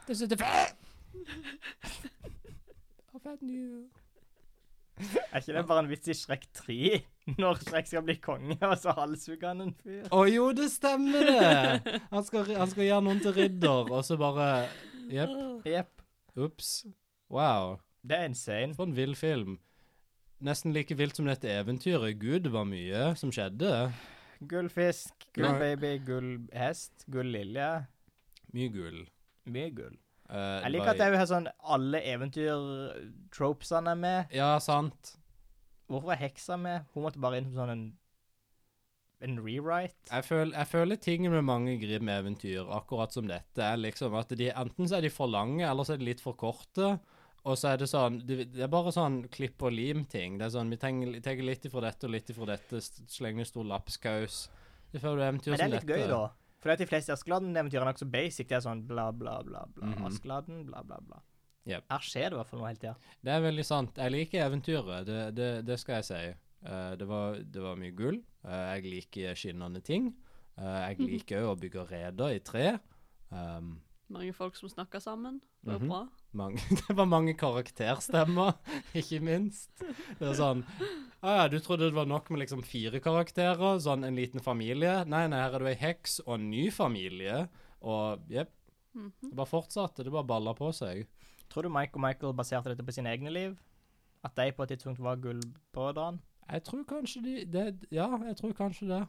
This is the fact. Er ikke det bare en vits i Shrek 3? Når Shrek skal bli konge, og så halshugger han en fyr? Å jo, det stemmer det! Han skal, ri- han skal gjøre noen til ridder, og så bare Jepp. Jepp. Ops. Wow. Det er insane. For en vill film. Nesten like vilt som dette eventyret. Gud, det var mye som skjedde. Gullfisk, Nei. gullbaby, gullhest, gullilje. Mye gull. Mye gull. Eh, Jeg liker var- at det er jo sånn alle eventyr-tropesene er med. Ja, sant. Hvorfor var heksa med? Hun måtte bare inn som sånn en, en rewrite. Jeg, føl, jeg føler tingen med mange Grim-eventyr, akkurat som dette, er liksom at de enten så er de for lange, eller så er de litt for korte. Og så er det sånn Det, det er bare sånn klipp og lim-ting. Det er sånn Vi trenger trenger litt ifra dette og litt ifra dette, s- sleng en stor lapskaus. Det føler du eventyr Men det som er dette. litt gøy, da. For de fleste Askeladden-eventyrene er nokså basic. Det er sånn bla, bla, bla, bla. Mhm. Askeladden, bla, bla, bla. Jep. Her skjer det i hvert fall noe hele tida. Det er veldig sant. Jeg liker eventyret, det, det, det skal jeg si. Eh, det, var, det var mye gull. Eh, jeg liker skinnende ting. Eh, jeg liker òg å bygge reder i tre. Um, Mange folk som snakker sammen. Det var Mhm. bra. mange, det var mange karakterstemmer, ikke minst. Det var sånn ah, ja, Du trodde det var nok med liksom fire karakterer, sånn en liten familie. Nei, nei, her er du ei heks og en ny familie. Og jepp. Det bare fortsatte. Det bare balla på seg. Tror du Mike og Michael baserte dette på sine egne liv? At de på et tidspunkt var gullbrødrene? Jeg tror kanskje de det, Ja, jeg tror kanskje det.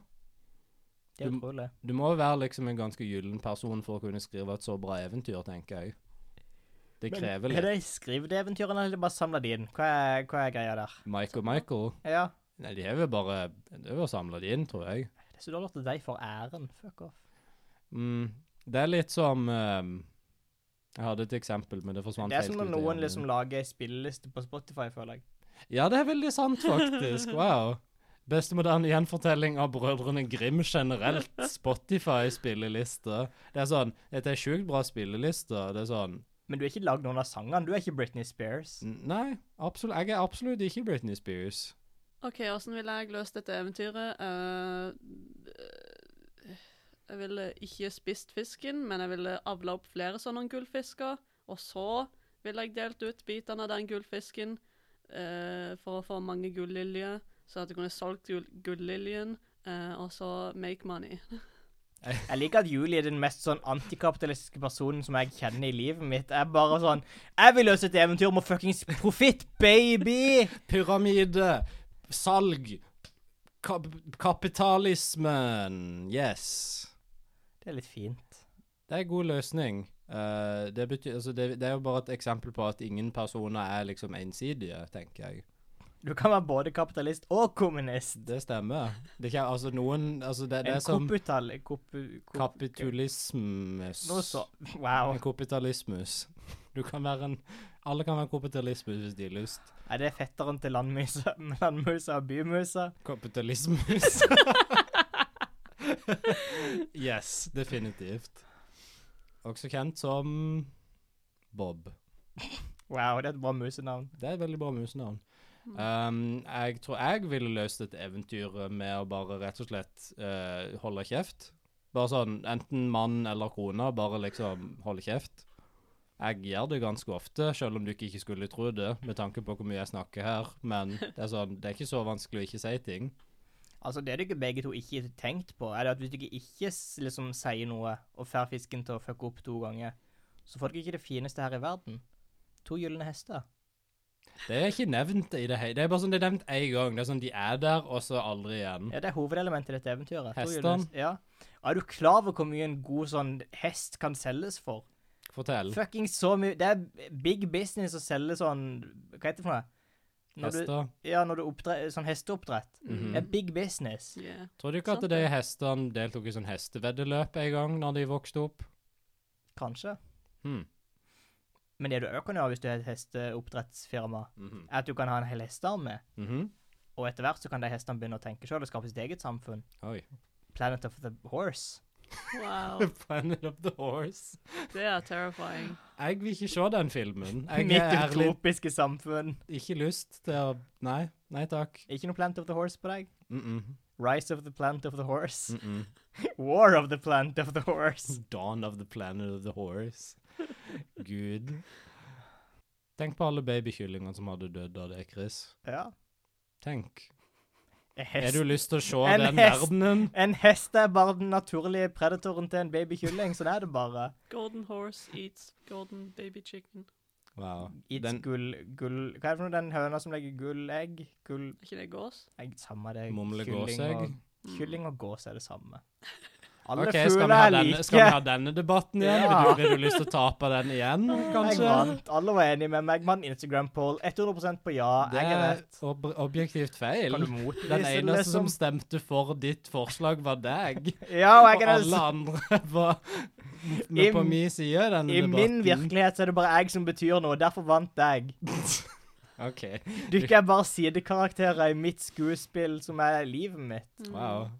Det Mm, er utrolig. Du må være liksom en ganske gyllen person for å kunne skrive et så bra eventyr, tenker jeg. Det krever Er litt. det skrevet eventyr, eller er det bare samla de inn? Hva er, hva er greia der? Michael Michael Ja. Nei, de har vel bare Det er vel samla de inn, tror jeg. Det er så dårlig at de får æren. Fuck off. Mm, det er litt som ehm, Jeg hadde et eksempel, men det forsvant Det er som helt ut i når hjernen noen min. liksom lager ei spilleliste på Spotify, føler jeg. Ja, det er veldig sant, faktisk. Wow. Beste moderne gjenfortelling av Brødrene Grim generelt. Spotify-spilleliste. Det er sånn Dette er sjukt bra spilleliste. Det er sånn Men du er ikke lagd noen av sangene. Du er ikke Britney Spears. n- Nei, absolutt, jeg er absolutt ikke Britney Spears. OK, åssen ville jeg løst dette eventyret? Eh, eh, jeg ville ikke spist fisken, men jeg ville avla opp flere sånne gullfisker. Og så ville jeg delt ut bitene av den gullfisken eh, for å få mange gulliljer, så at jeg kunne solgt gull gulliljen, eh, og så make money. Jeg liker at Julie er den mest sånn antikapitalistiske personen som jeg kjenner i livet mitt. Jeg er bare sånn Jeg vil løse et eventyr med fuckings profitt, baby! Pyramide. Salg. Kap kapitalismen. Yes. Det er litt fint. Det er en god løsning. Eh, det, betyr, altså det, det er jo bare et eksempel på at ingen personer er liksom ensidige, tenker jeg. Du kan være både kapitalist og kommunist. Det stemmer. Det er ikke, altså noen altså det, det En er som koputal... Kopu... kopu- kapitalismus. Nå så. Wow. En kapitalismus. Du kan være en Alle kan være kapitalismus hvis de har lyst. Er det fetteren til landmusa, landmusa og bymusa? Kapitalismus. yes, definitivt. Også kjent som Bob. Wow, det er et bra musenavn. Det er et veldig bra musenavn. Um, jeg tror jeg ville løst dette eventyret med å bare rett og slett eh, holde kjeft. Bare sånn, enten mann eller kone, bare liksom holde kjeft. Jeg gjør det ganske ofte, selv om du ikke skulle tro det, med tanke på hvor mye jeg snakker her. Men det er sånn, det er ikke så vanskelig å ikke si ting. Altså, det dere begge to ikke har tenkt på, er det at hvis dere ikke s- liksom sier noe og får fisken til å fucke opp to ganger, så får dere ikke det fineste her i verden. To gylne hester. Det er ikke nevnt i det hele Det er bare sånn, det er nevnt én gang. Det er sånn, de er der, og så aldri igjen. Ja, det er hovedelementet i dette eventyret. To gylne Hestene. hest- Ja. Er du klar over hvor mye en god sånn hest kan selges for? Fortell. Fucking så mye Det er big business å selge sånn Hva heter det for noe? Når du- Hester. Ja, når du oppdre, sånn hesteoppdrett. Mhm. Det er big business. Yeah. Tror du ikke at de Sant det. hestene deltok i sånn hesteveddeløp en gang, når de vokste opp? Kanskje. Hmm. Men det du òg kan gjøre hvis du har et hesteoppdrettsfirma, Mhm. er at du kan ha en hel hestearmé. Mhm. Og etter hvert så kan de hestene begynne å tenke sjøl og skape sitt eget samfunn. Oi. Planet of the Horse. Wow. Planet of the Horse. Det er terrifying. Jeg vil ikke se den filmen. Jeg Mitt er ærlig utopiske samfunn. ikke lyst til å Nei. Nei takk. Ikke noe Planet of the Horse på deg? Mm -mm. Rise of the Planet of the Horse. Mm -mm. War of the Planet of the Horse. Dawn of the Planet of the Horse. Gud. Tenk på alle babykyllingene som hadde dødd av det, Chris. Ja. Tenk. En Mm. Er hest, du lyst til å se En den hest. verdenen? en hest er bare den naturlige predatoren til en babykylling, sånn er det bare. Golden horse eats golden baby chicken. Wow. It's Den gull, gull Hva er det for noe den høna som legger gullegg? Gull Er ikke det gås? egg, Samme det. mumlegåsegg. kylling og- Kylling og gås er det samme. Alle Ok, skal vi, fugler ha er denne, skal vi ha like. denne debatten igjen? Vil, Ja. du, vil du lyst til å tape den igjen, Jeg kanskje? vant. Alle var enige med meg. Mann Instagram-poll 100 på ja. Det Jeg er er rett. ob objektivt feil. Kan du motbevise Den det, eneste som liksom? stemte for ditt forslag, var deg. Ja, og Og jeg er den alle andre var med I- på min side i denne I debatten. min virkelighet så er det bare jeg som betyr noe, derfor vant jeg. OK. Du ikke er bare sidekarakterer i mitt skuespill som er livet mitt. Mm. Wow.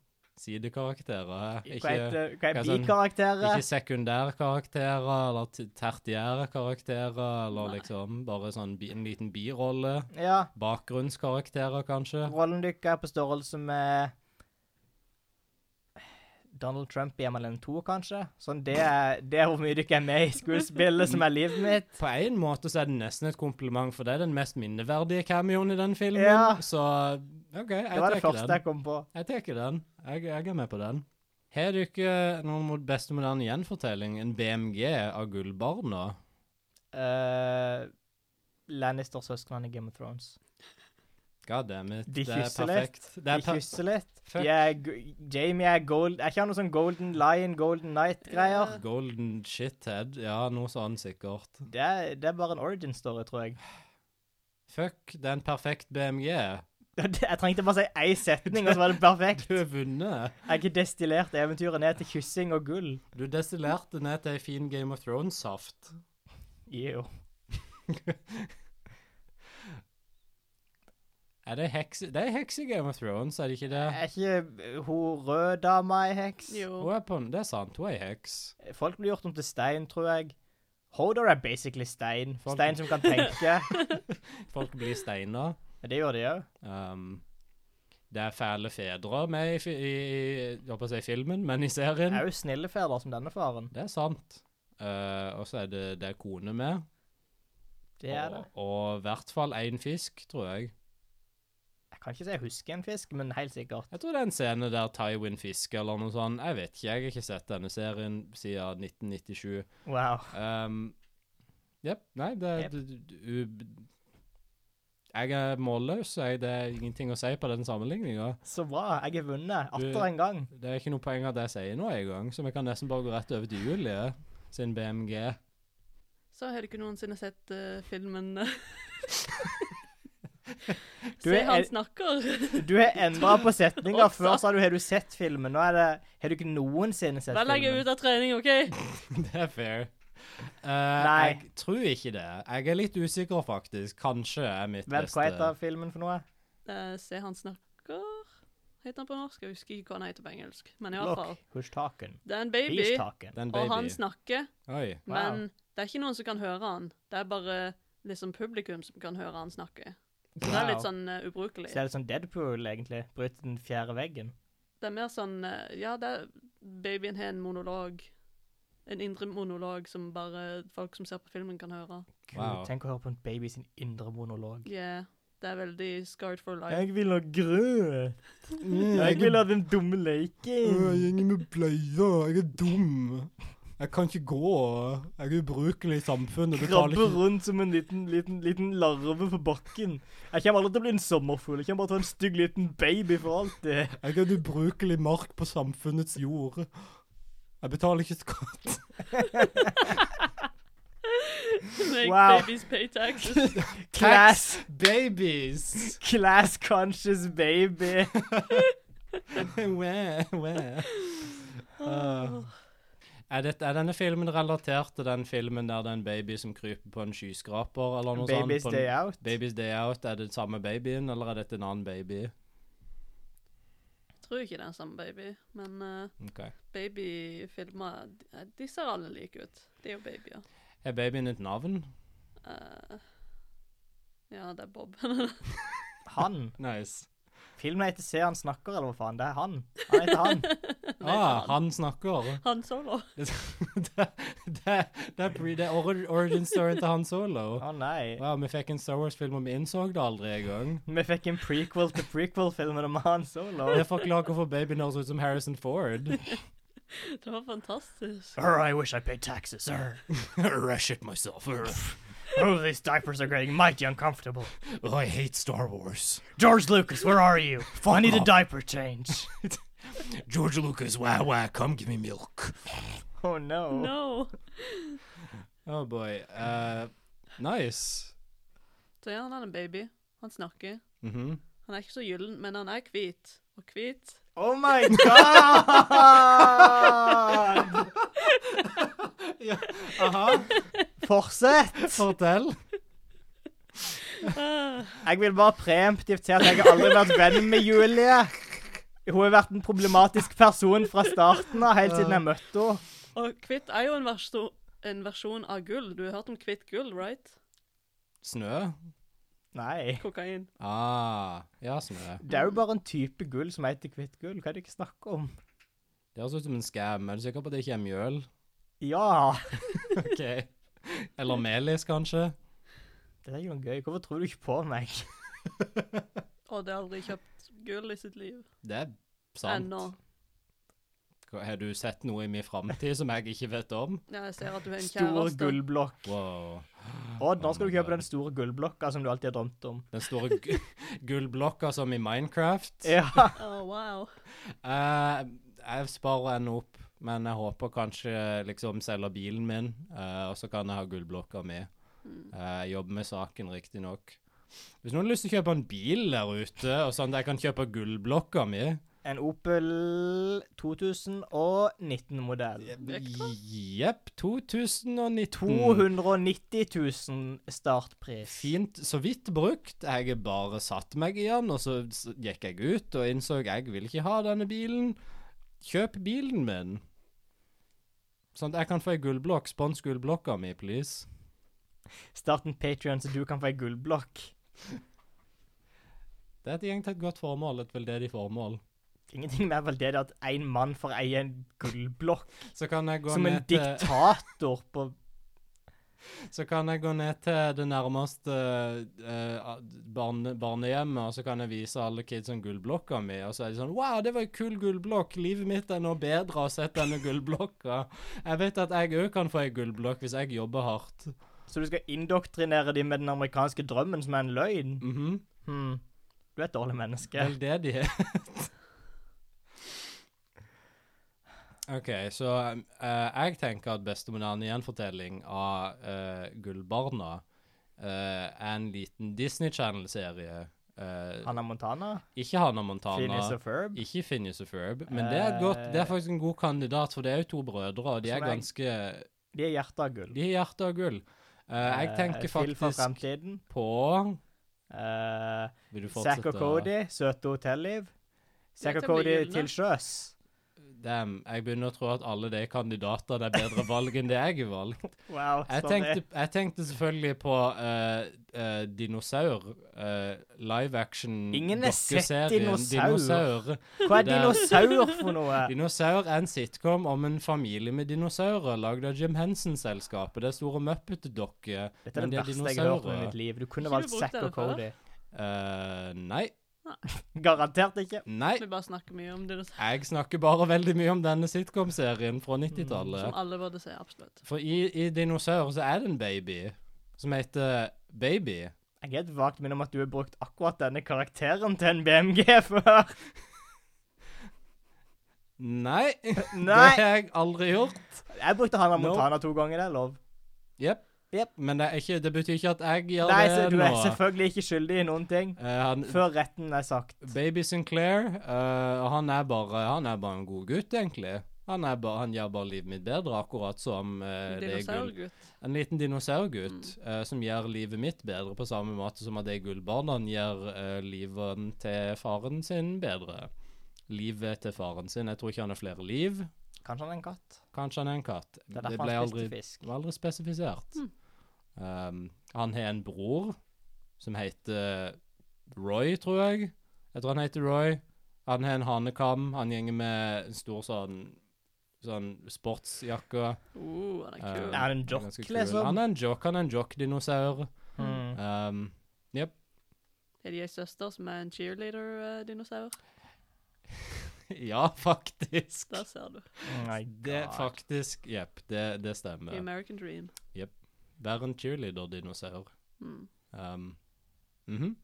Sidekarakterer. Hva Ikke, heter, hva hva er er sånn- bikarakterer? ikke sekundærkarakterer eller t- tertiærkarakterer eller liksom bare sånn bi, en liten birolle. Ja. Bakgrunnskarakterer, kanskje. Rollen deres er på størrelse med Donald Trump i MLN 2, kanskje? Sånn, det er, det er hvor mye dere er med i skuespillet som er livet mitt. På en måte så er det nesten et kompliment, for det er den mest minneverdige cameoen i den filmen. Ja. Så OK, jeg Det var tar det den. første jeg kom på. Jeg tar den. Jeg, jeg er med på den. Har du ikke eh, noen mot beste moderne gjenfortelling, en BMG av Gullbarna? Eh, Uh, Lannister-søsknene i Game of Thrones. God damn it. De det er kysser litt. perfekt. Det er De kysser litt. Fuck. De er, g- Jamie er gold... Er ikke han noe sånn Golden Lion, Golden Knight-greier? Golden shithead. Ja, noe sånn sikkert. Det, er- det er bare en origin story, tror jeg. Fuck, det er en perfekt BMG. Jeg trengte bare si én setning, og så var det perfekt. Du har vunnet. Jeg har ikke destillert eventyret ned til kyssing og gull. Du destillerte ned til ei fin Game of Thrones-saft. Ew. Er det heks... Det er heks i Game of Thrones, er det ikke det? Er ikke eh, hun rød dama ei heks? Jo. Hun er på Det er sant, hun er ei heks. Folk blir gjort om til stein, tror jeg. Hodor er basically stein. Folk- Stein som kan tenke. Folk blir steiner. Men Det gjør de òg. Um, det er fæle fedre med i, fi- i, i jeg holdt på å si filmen, men i serien. Òg snille fedre som denne faren. Det er sant. Eh, og så er det, det er kone med. Det er det. Og, og i hvert fall én fisk, tror jeg. Jeg kan ikke si jeg husker en fisk, men helt sikkert. Jeg tror det er en scene der Tywin fisker eller noe sånt. Jeg vet ikke, jeg har ikke sett denne serien siden 1997. Wow. Um, Jepp. Nei, det Jep. er Jeg er målløs. Jeg, det er ingenting å si på den sammenligninga. Så bra. Jeg har vunnet atter Du- en gang. Det er ikke noe poeng at jeg sier noe engang, så vi kan nesten bare gå rett over til Julie sin BMG. Så har du ikke noensinne sett eh, filmen Du Se, er- han snakker. Du har endra på setninga. Også. Før sa du 'har du sett filmen'? Nå er det 'har du ikke noensinne sett Da legger jeg filmen'? ut av trening, OK? Det er fair. Eh, Nei. Jeg tror ikke det. Jeg er litt usikker, faktisk. Kanskje er mitt Vel, hva beste. heter filmen for noe? Eh, se, han snakker Heter han på norsk? Jeg husker ikke hva han heter på engelsk. Men i alle fall. Look, who's talking? Det er en He's baby, talking. Den og han baby. snakker, Oi. Wow. men det er ikke noen som kan høre han. Det er bare liksom publikum som kan høre han snakke. Så det er litt sånn eh, ubrukelig. Så er det sånn Deadpool, egentlig. Bryter den fjerde veggen. Det er mer sånn eh, Ja, det er, babyen har en monolog. En indre monolog som bare folk som ser på filmen, kan høre. Gud, Wow. Tenk å høre på en baby sin indre monolog. Yeah. Det er veldig scarred for life. Jeg vil ha grøt. Jeg vil ha den dumme leken. går med bleia. Jeg er dum. Jeg kan ikke gå. Jeg er ubrukelig i samfunnet. Krabbe rundt som en liten, liten, liten larve på bakken. Jeg kommer aldri til å bli en sommerfugl. Jeg kommer bare til å være en stygg liten baby for alltid. Jeg er en ubrukelig mark på samfunnets jord. Jeg betaler ikke skatt. Make Wow. babies pay taxes. Class, Babies! class conscious baby. Wæ, wæ. Ah. Er, det, er denne filmen relatert til den filmen der det er en baby som kryper på en skyskraper? eller noe Baby's sånt? På en- day out. Baby's Day Out. Er det den samme babyen, eller er dette en annen baby? Jeg tror ikke det er samme baby, men eh, Ok. babyfilmer de- De ser alle like ut. De er jo babyer. Er babyen et navn? Eh, ja, det er Bob. Han. Nice. Filmen heter Se han snakker, eller hva faen. Det er han. Han heter han. Ah, han snakker. Han solo. Det, det, det, det, er pre, det er ori- origin storyen til Han Solo. Å nei. Wow, vi fikk en Star Wars-film, og vi innså det aldri engang. Vi fikk en prequel til prequel-filmen om Han Solo. Det forklarer hvorfor babyen høres ut som Harrison Ford. Det var fantastisk. Or I wish I paid taxes, sir. I shit myself. Oh, these diapers are getting mighty uncomfortable. Oh, I hate Star Wars. George Lucas, where are you? I need a diaper change. George Lucas, wow, wow, come give me milk. Oh no. No. Oh boy. Eh, nice. Så ja, han er en baby. Han snakker. Mhm. Han er ikke så gyllen, men han er hvit. Og hvit Oh my god! Aha, Uh-huh. Fortsett! fortell. Jeg vil bare preemptivt si at jeg har aldri vært venn med Julie. Hun har vært en problematisk person fra starten av, helt siden jeg møtte henne. Og hvitt er jo en, verso en versjon av gull. Du har hørt om hvitt gull, right? Snø. Nei. Kokain. Ah, ja, snø. Det er jo bare en type gull som heter hvitt gull. Hva er det ikke snakker om? Det høres ut som en skam. Er du sikker på at det ikke er mjøl? Ja. Ok. Eller melis, kanskje? Det er ikke noe gøy. Hvorfor tror du ikke på meg? Og det har aldri kjøpt gull i sitt liv. Det er sant. Ennå. Hva- Har du sett noe i min framtid som jeg ikke vet om? Ja, jeg ser at du har en Stor kjæreste. gullblokk. Wow. Odd, nå skal du kjøpe den store gullblokka som du alltid har drømt om. Den store gu- gullblokka som i Minecraft. Ja. Å, Oh, wow. Eh, jeg sparer en opp, men jeg håper kanskje liksom selger bilen min, eh, og så kan jeg ha gullblokka mi. Eh, jeg jobber med saken riktignok. Hvis noen har lyst til å kjøpe en bil der ute, og sånn at jeg kan kjøpe gullblokka mi En Opel 2019-modell. Jepp. 2019. 290 000 startpris. Fint, så vidt brukt. Jeg bare satt meg i den, og så s- gikk jeg ut og innså jeg vil ikke ha denne bilen. Kjøp bilen min. Sånn at jeg kan få ei gullblokk. Spons gullblokka mi, please. Start en Patrion, så du kan få ei gullblokk. Det er et egentlig et godt formål, et veldedig formål. Ingenting mer vel det, det at én mann får eie en gullblokk. Så kan jeg gå Som en ned til diktator på Så kan jeg gå ned til det nærmeste eh, a- barne, barnehjemmet, og så kan jeg vise alle kidsene gullblokka mi, og så er de sånn Wow, det var en kul gullblokk. Livet mitt er nå bedre av å sett denne gullblokka. Jeg vet at jeg òg kan få ei gullblokk hvis jeg jobber hardt. Så du skal indoktrinere dem med den amerikanske drømmen, som er en løgn? Mhm. Hmm. Du er et dårlig menneske. Veldedighet. OK, så eh, jeg tenker at bestemoderne gjenfortelling av eh, Gullbarna eh, er en liten Disney Channel-serie. Eh, Hannah Montana? Ikke Hannah Montana. Phineas og Ferb? Ikke Phineas og Ferb. Men det er, et godt, det er faktisk en god kandidat, for det er jo to brødre, og de er Som er- ganske De er hjertet av gull. De har hjerte av gull. Eh, jeg tenker Phil fra faktisk fremtiden. på Eh, Vil du Zack fortsette? og Cody, søte hotelliv. Zack og Dette blir Cody gyllene. til sjøs. Damn, jeg begynner å tro at alle de kandidatene er bedre valg enn det jeg har valgt. Wow, Jeg sorry. tenkte, jeg tenkte selvfølgelig på eh, eh, dinosaur. eh, live action Ingen har sett dokkeserien dinosaur. dinosaur. Hva er Det er- dinosaur for noe? Dinosaur er en sitcom om en familie med dinosaurer lagd av Jim Henson-selskapet. Det er store Muppet-dokker. Dette er men det de verste jeg har hørt om i mitt liv. Du kunne Ikke valgt du brukt Zack og denne før? Cody. Eh, nei. Garantert ikke. Nei. Vi bare snakker mye om det Jeg snakker bare veldig mye om denne sitcom-serien fra som Mm. 90-tallet. alle burde se. Absolutt. For i, i Dinosaur så er det en baby som heter Baby. Jeg har et vagt minne om at du har brukt akkurat denne karakteren til en BMG før. Nei, det Nei! har jeg aldri gjort. Jeg brukte Hannah Nope. Montana to ganger, det er lov. Jepp. Jep. Men det, er ikke, det betyr ikke at jeg gjør Nei, så det du nå. er selvfølgelig ikke skyldig i noen ting. Eh, han, Før retten er sagt. Baby Sinclair, eh, han, er bare, han er bare en god gutt, egentlig. Han, er bare, han gjør bare livet mitt bedre, akkurat som eh, det er gull. Dinosaurgutt. En liten dinosaurgutt eh, som gjør livet mitt bedre, på samme måte som at de gullbarna gjør eh, livet til faren sin bedre. Livet til faren sin. Jeg tror ikke han har flere liv. Kanskje han er en katt? Kanskje han er en katt. Det er derfor han spiste fisk. Det var aldri spesifisert. Mm. Um, han har en bror som heter Roy, tror jeg. Jeg tror han heter Roy. Han har en hanekam. Han gjenger med en stor sånn, sånn sportsjakke. Oh, han er kul. Er han en jock, Ganske kul. liksom? Han er en jock. Han er en jock-dinosaur. Hmm. Um, Jepp. Er de ei søster som er en eh, cheerleader-dinosaur? Ja, faktisk. Der ser du. Oh my Det God. faktisk Jepp, det, det The stemmer. American Dream. Være en cheerleader-dinosaur. Mm. Um, mhm.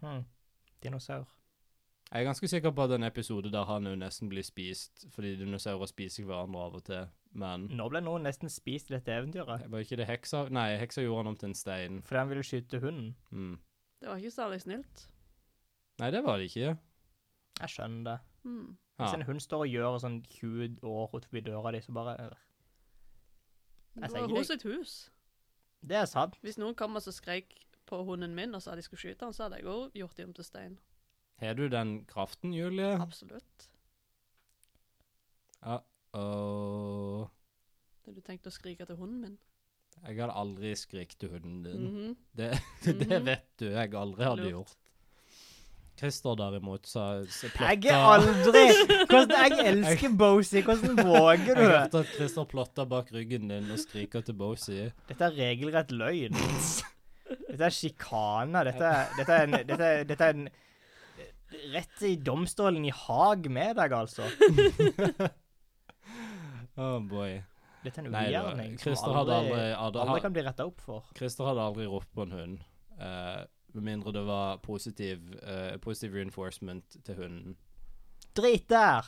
Hmm. Dinosaur. Jeg er ganske sikker på at det er en episode der han jo nesten blir spist, fordi dinosaurer spiser hverandre av og til, men Nå ble noen nesten spist i dette eventyret. Var ikke det heksa? Nei, heksa gjorde han om til en stein. Fordi han ville skyte hunden. Mm. Det var ikke særlig snilt. Nei, det var det ikke. Jeg skjønner det. Mm. Ja. Hvis en hund står og gjør sånn 20 år utenfor døra di, så bare øh. Det sier var ikke hun det. sitt hus. Det er sant. Hvis noen kom og så skreik på hunden min og sa de skulle skyte han, så hadde jeg òg gjort dem til stein. Har du den kraften, Julie? Absolutt. Åh Hadde du tenkt å skrike til hunden min? Jeg hadde aldri skrikt til hunden din. Mm. Mhm. Det, det Mhm. vet du jeg aldri hadde Lurt. gjort. Christer derimot sa sa Jeg er plotta aldri hvordan, Jeg elsker Bosie. Hvordan våger du? Jeg hørte at Christer plotta bak ryggen din og skriker til Bosie. Dette er regelrett løgn. Dette er sjikane. Dette, er- dette, er en- dette, er- dette er en Rett i domstolen i Haag med deg, altså. Oh boy. Dette er en Nei, det var- ugjerning Christer som hadde aldri, aldri- hadde- aldri kan bli retta opp for. Christer hadde aldri ropt på en hund. eh, Med mindre det var positiv, eh, positiv reinforcement til hunden. Drit der!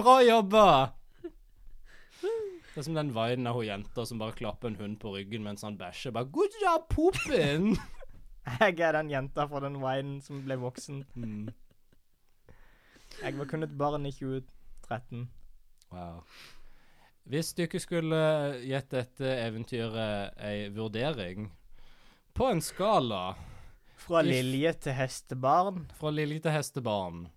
Bra jobba! Det er som den vinen av hun jenta som bare klapper en hund på ryggen mens han bæsjer. Bare 'Good job, poopin'! Jeg er den jenta fra den veien som ble voksen. mm. Jeg var kun et barn i 2013. Wow. Hvis du ikke skulle gitt dette eventyret ei vurdering på en skala Fra If- Lilje til hestebarn. fra lilje til hestebarn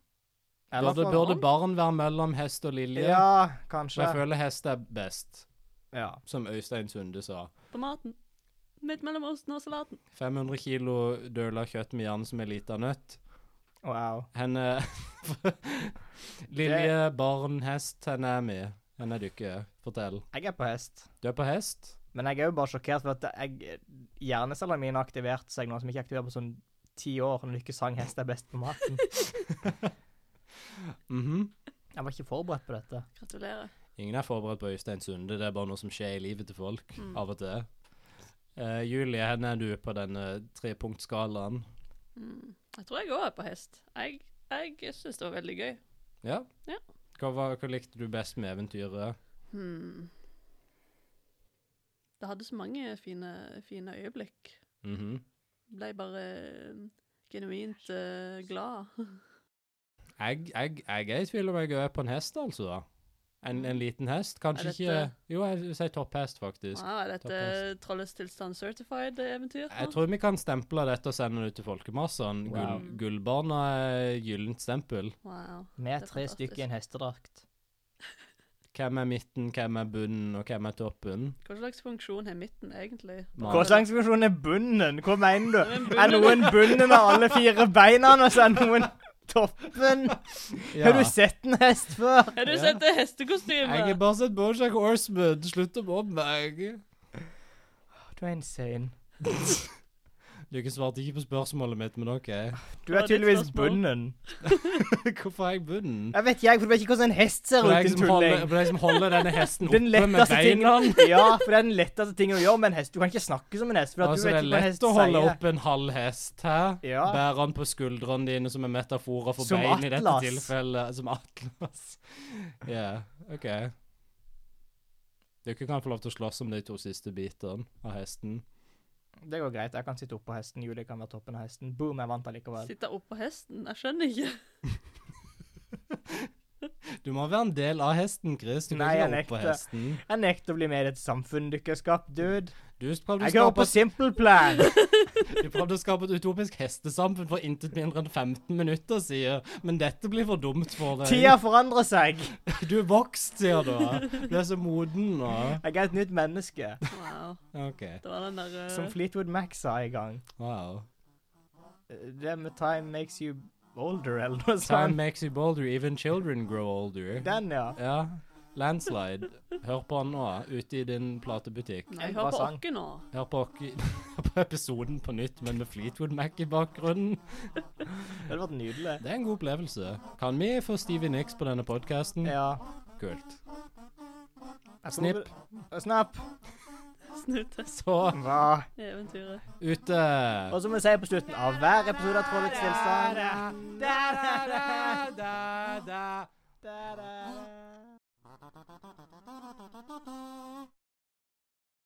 Eller Burde, fra burde hånd? barn være mellom hest og lilje? Ja, For jeg kanskje. føler hest er best, Ja. som Øystein Sunde sa. På maten. Midt mellom osten og salaten. 500 kilo døla kjøtt med jern som er lita nøtt. Wow. Henne Lilje, barn, hest, henne er med. Henne er du ikke. Fortell. Jeg er på hest. Du er på hest? Men jeg er jo bare sjokkert for at jeg, hjernecellene mine har aktivert seg nå, som ikke er aktivert på sånn ti år, når du ikke sang 'Hest er best på maten'. Mhm. Jeg var ikke forberedt på dette. Gratulerer. Ingen er forberedt på Øystein Sunde, det er bare noe som skjer i livet til folk Mm. av og til. Eh, Julie, henne er du på denne trepunktskalaen. Mm. Jeg tror jeg òg er på hest. Jeg, jeg syns det var veldig gøy. Ja? Ja. Hva, var, hva likte du best med eventyret? Hmm. Det hadde så mange fine, fine øyeblikk. Mhm. Ble bare genuint eh, glad. jeg, jeg, jeg er i tvil om jeg er på en hest, altså. En, en liten hest? Kanskje Mm. Er dette- ikke Jo, jeg vil si topphest, faktisk. Ah, er dette eh, Topphest. Trollets tilstand certified-eventyr? Jeg tror vi kan stemple dette og sende det ut til folkemassene. Gull, Wow. gullbarna er gyllent stempel. Wow. Vi Det er er tre fantastisk. stykker i en hestedrakt. Hvem er midten, hvem er bunnen, og hvem er toppen? Hva slags funksjon har midten egentlig? Man- Hva slags funksjon er bunnen? Hva mener du? Men Er bunnen- noen bunnen av alle fire beina, og så er noen toppen? Ja. Har du sett en hest før? Har du Ja. sett det Jeg har hestekostymet? bare sett Bojack Horseman. Slutt å mobbe meg. Du er insane. Du ikke svarte ikke på spørsmålet mitt, men OK. Du Hva er er ditt tydeligvis spørsmål? bunnen. Hvorfor er jeg bunnen? Jeg vet jeg, for du vet ikke hvordan en hest ser For ut, det er jeg din som holder, tulling. for det er jeg som holder denne hesten oppe Den med letteste beina. tingen Ja, for det er den letteste tingen å gjøre med en hest. Du kan ikke snakke som en hest. For at Altså, du det vet er ikke hva en hest lett å holde sier. opp en halv hest, hæ? Ja. Bære han på skuldrene dine som er metaforer for Som bein i dette atlas. tilfellet. Som atlas. Ja, OK. Dere kan få lov til å slåss om de to siste bitene av hesten. Det går greit. Jeg kan sitte oppå hesten. Julie kan være toppen av hesten. Boom, jeg vant allikevel. Sitte oppå hesten? Jeg skjønner ikke. Du må være en del av hesten, Chris. Du kan Nei, ikke jeg være oppå nekter. hesten. Jeg nekter å bli med i dette samfunnet dere har skapt, dude. Du prøvde, å Jeg hører skape, på Simple Plan. du prøvde å skape et utopisk hestesamfunn for intet mindre enn 15 minutter siden, men dette blir for dumt for Tida deg. forandrer seg. Du er vokst, sier du. Du er så moden nå. Jeg er et nytt menneske. Wow. OK. Det var den der Som eh, Fleetwood Mac sa en gang. Wow. Det med time makes you older, eller noe Time sånt. makes you bolder, even children grow older. Den, ja. Ja. Landslide. Hør på han nå, ute i din platebutikk. en Nei, jeg bra hører på sang. åkke nå. Hør på, ok- hør på episoden på nytt, men med Fleetwood Mac i bakgrunnen. Det hadde vært nydelig. Det er en god opplevelse. Kan vi få Stevie Nicks på denne podkasten? Ja. Kult. Jeg tror Snipp. det- Snap. Snutes Så Hva? eventyret. ute. Og som vi sier på slutten av hver episode av Trollets tilstand Da, da, da, da. Da-da.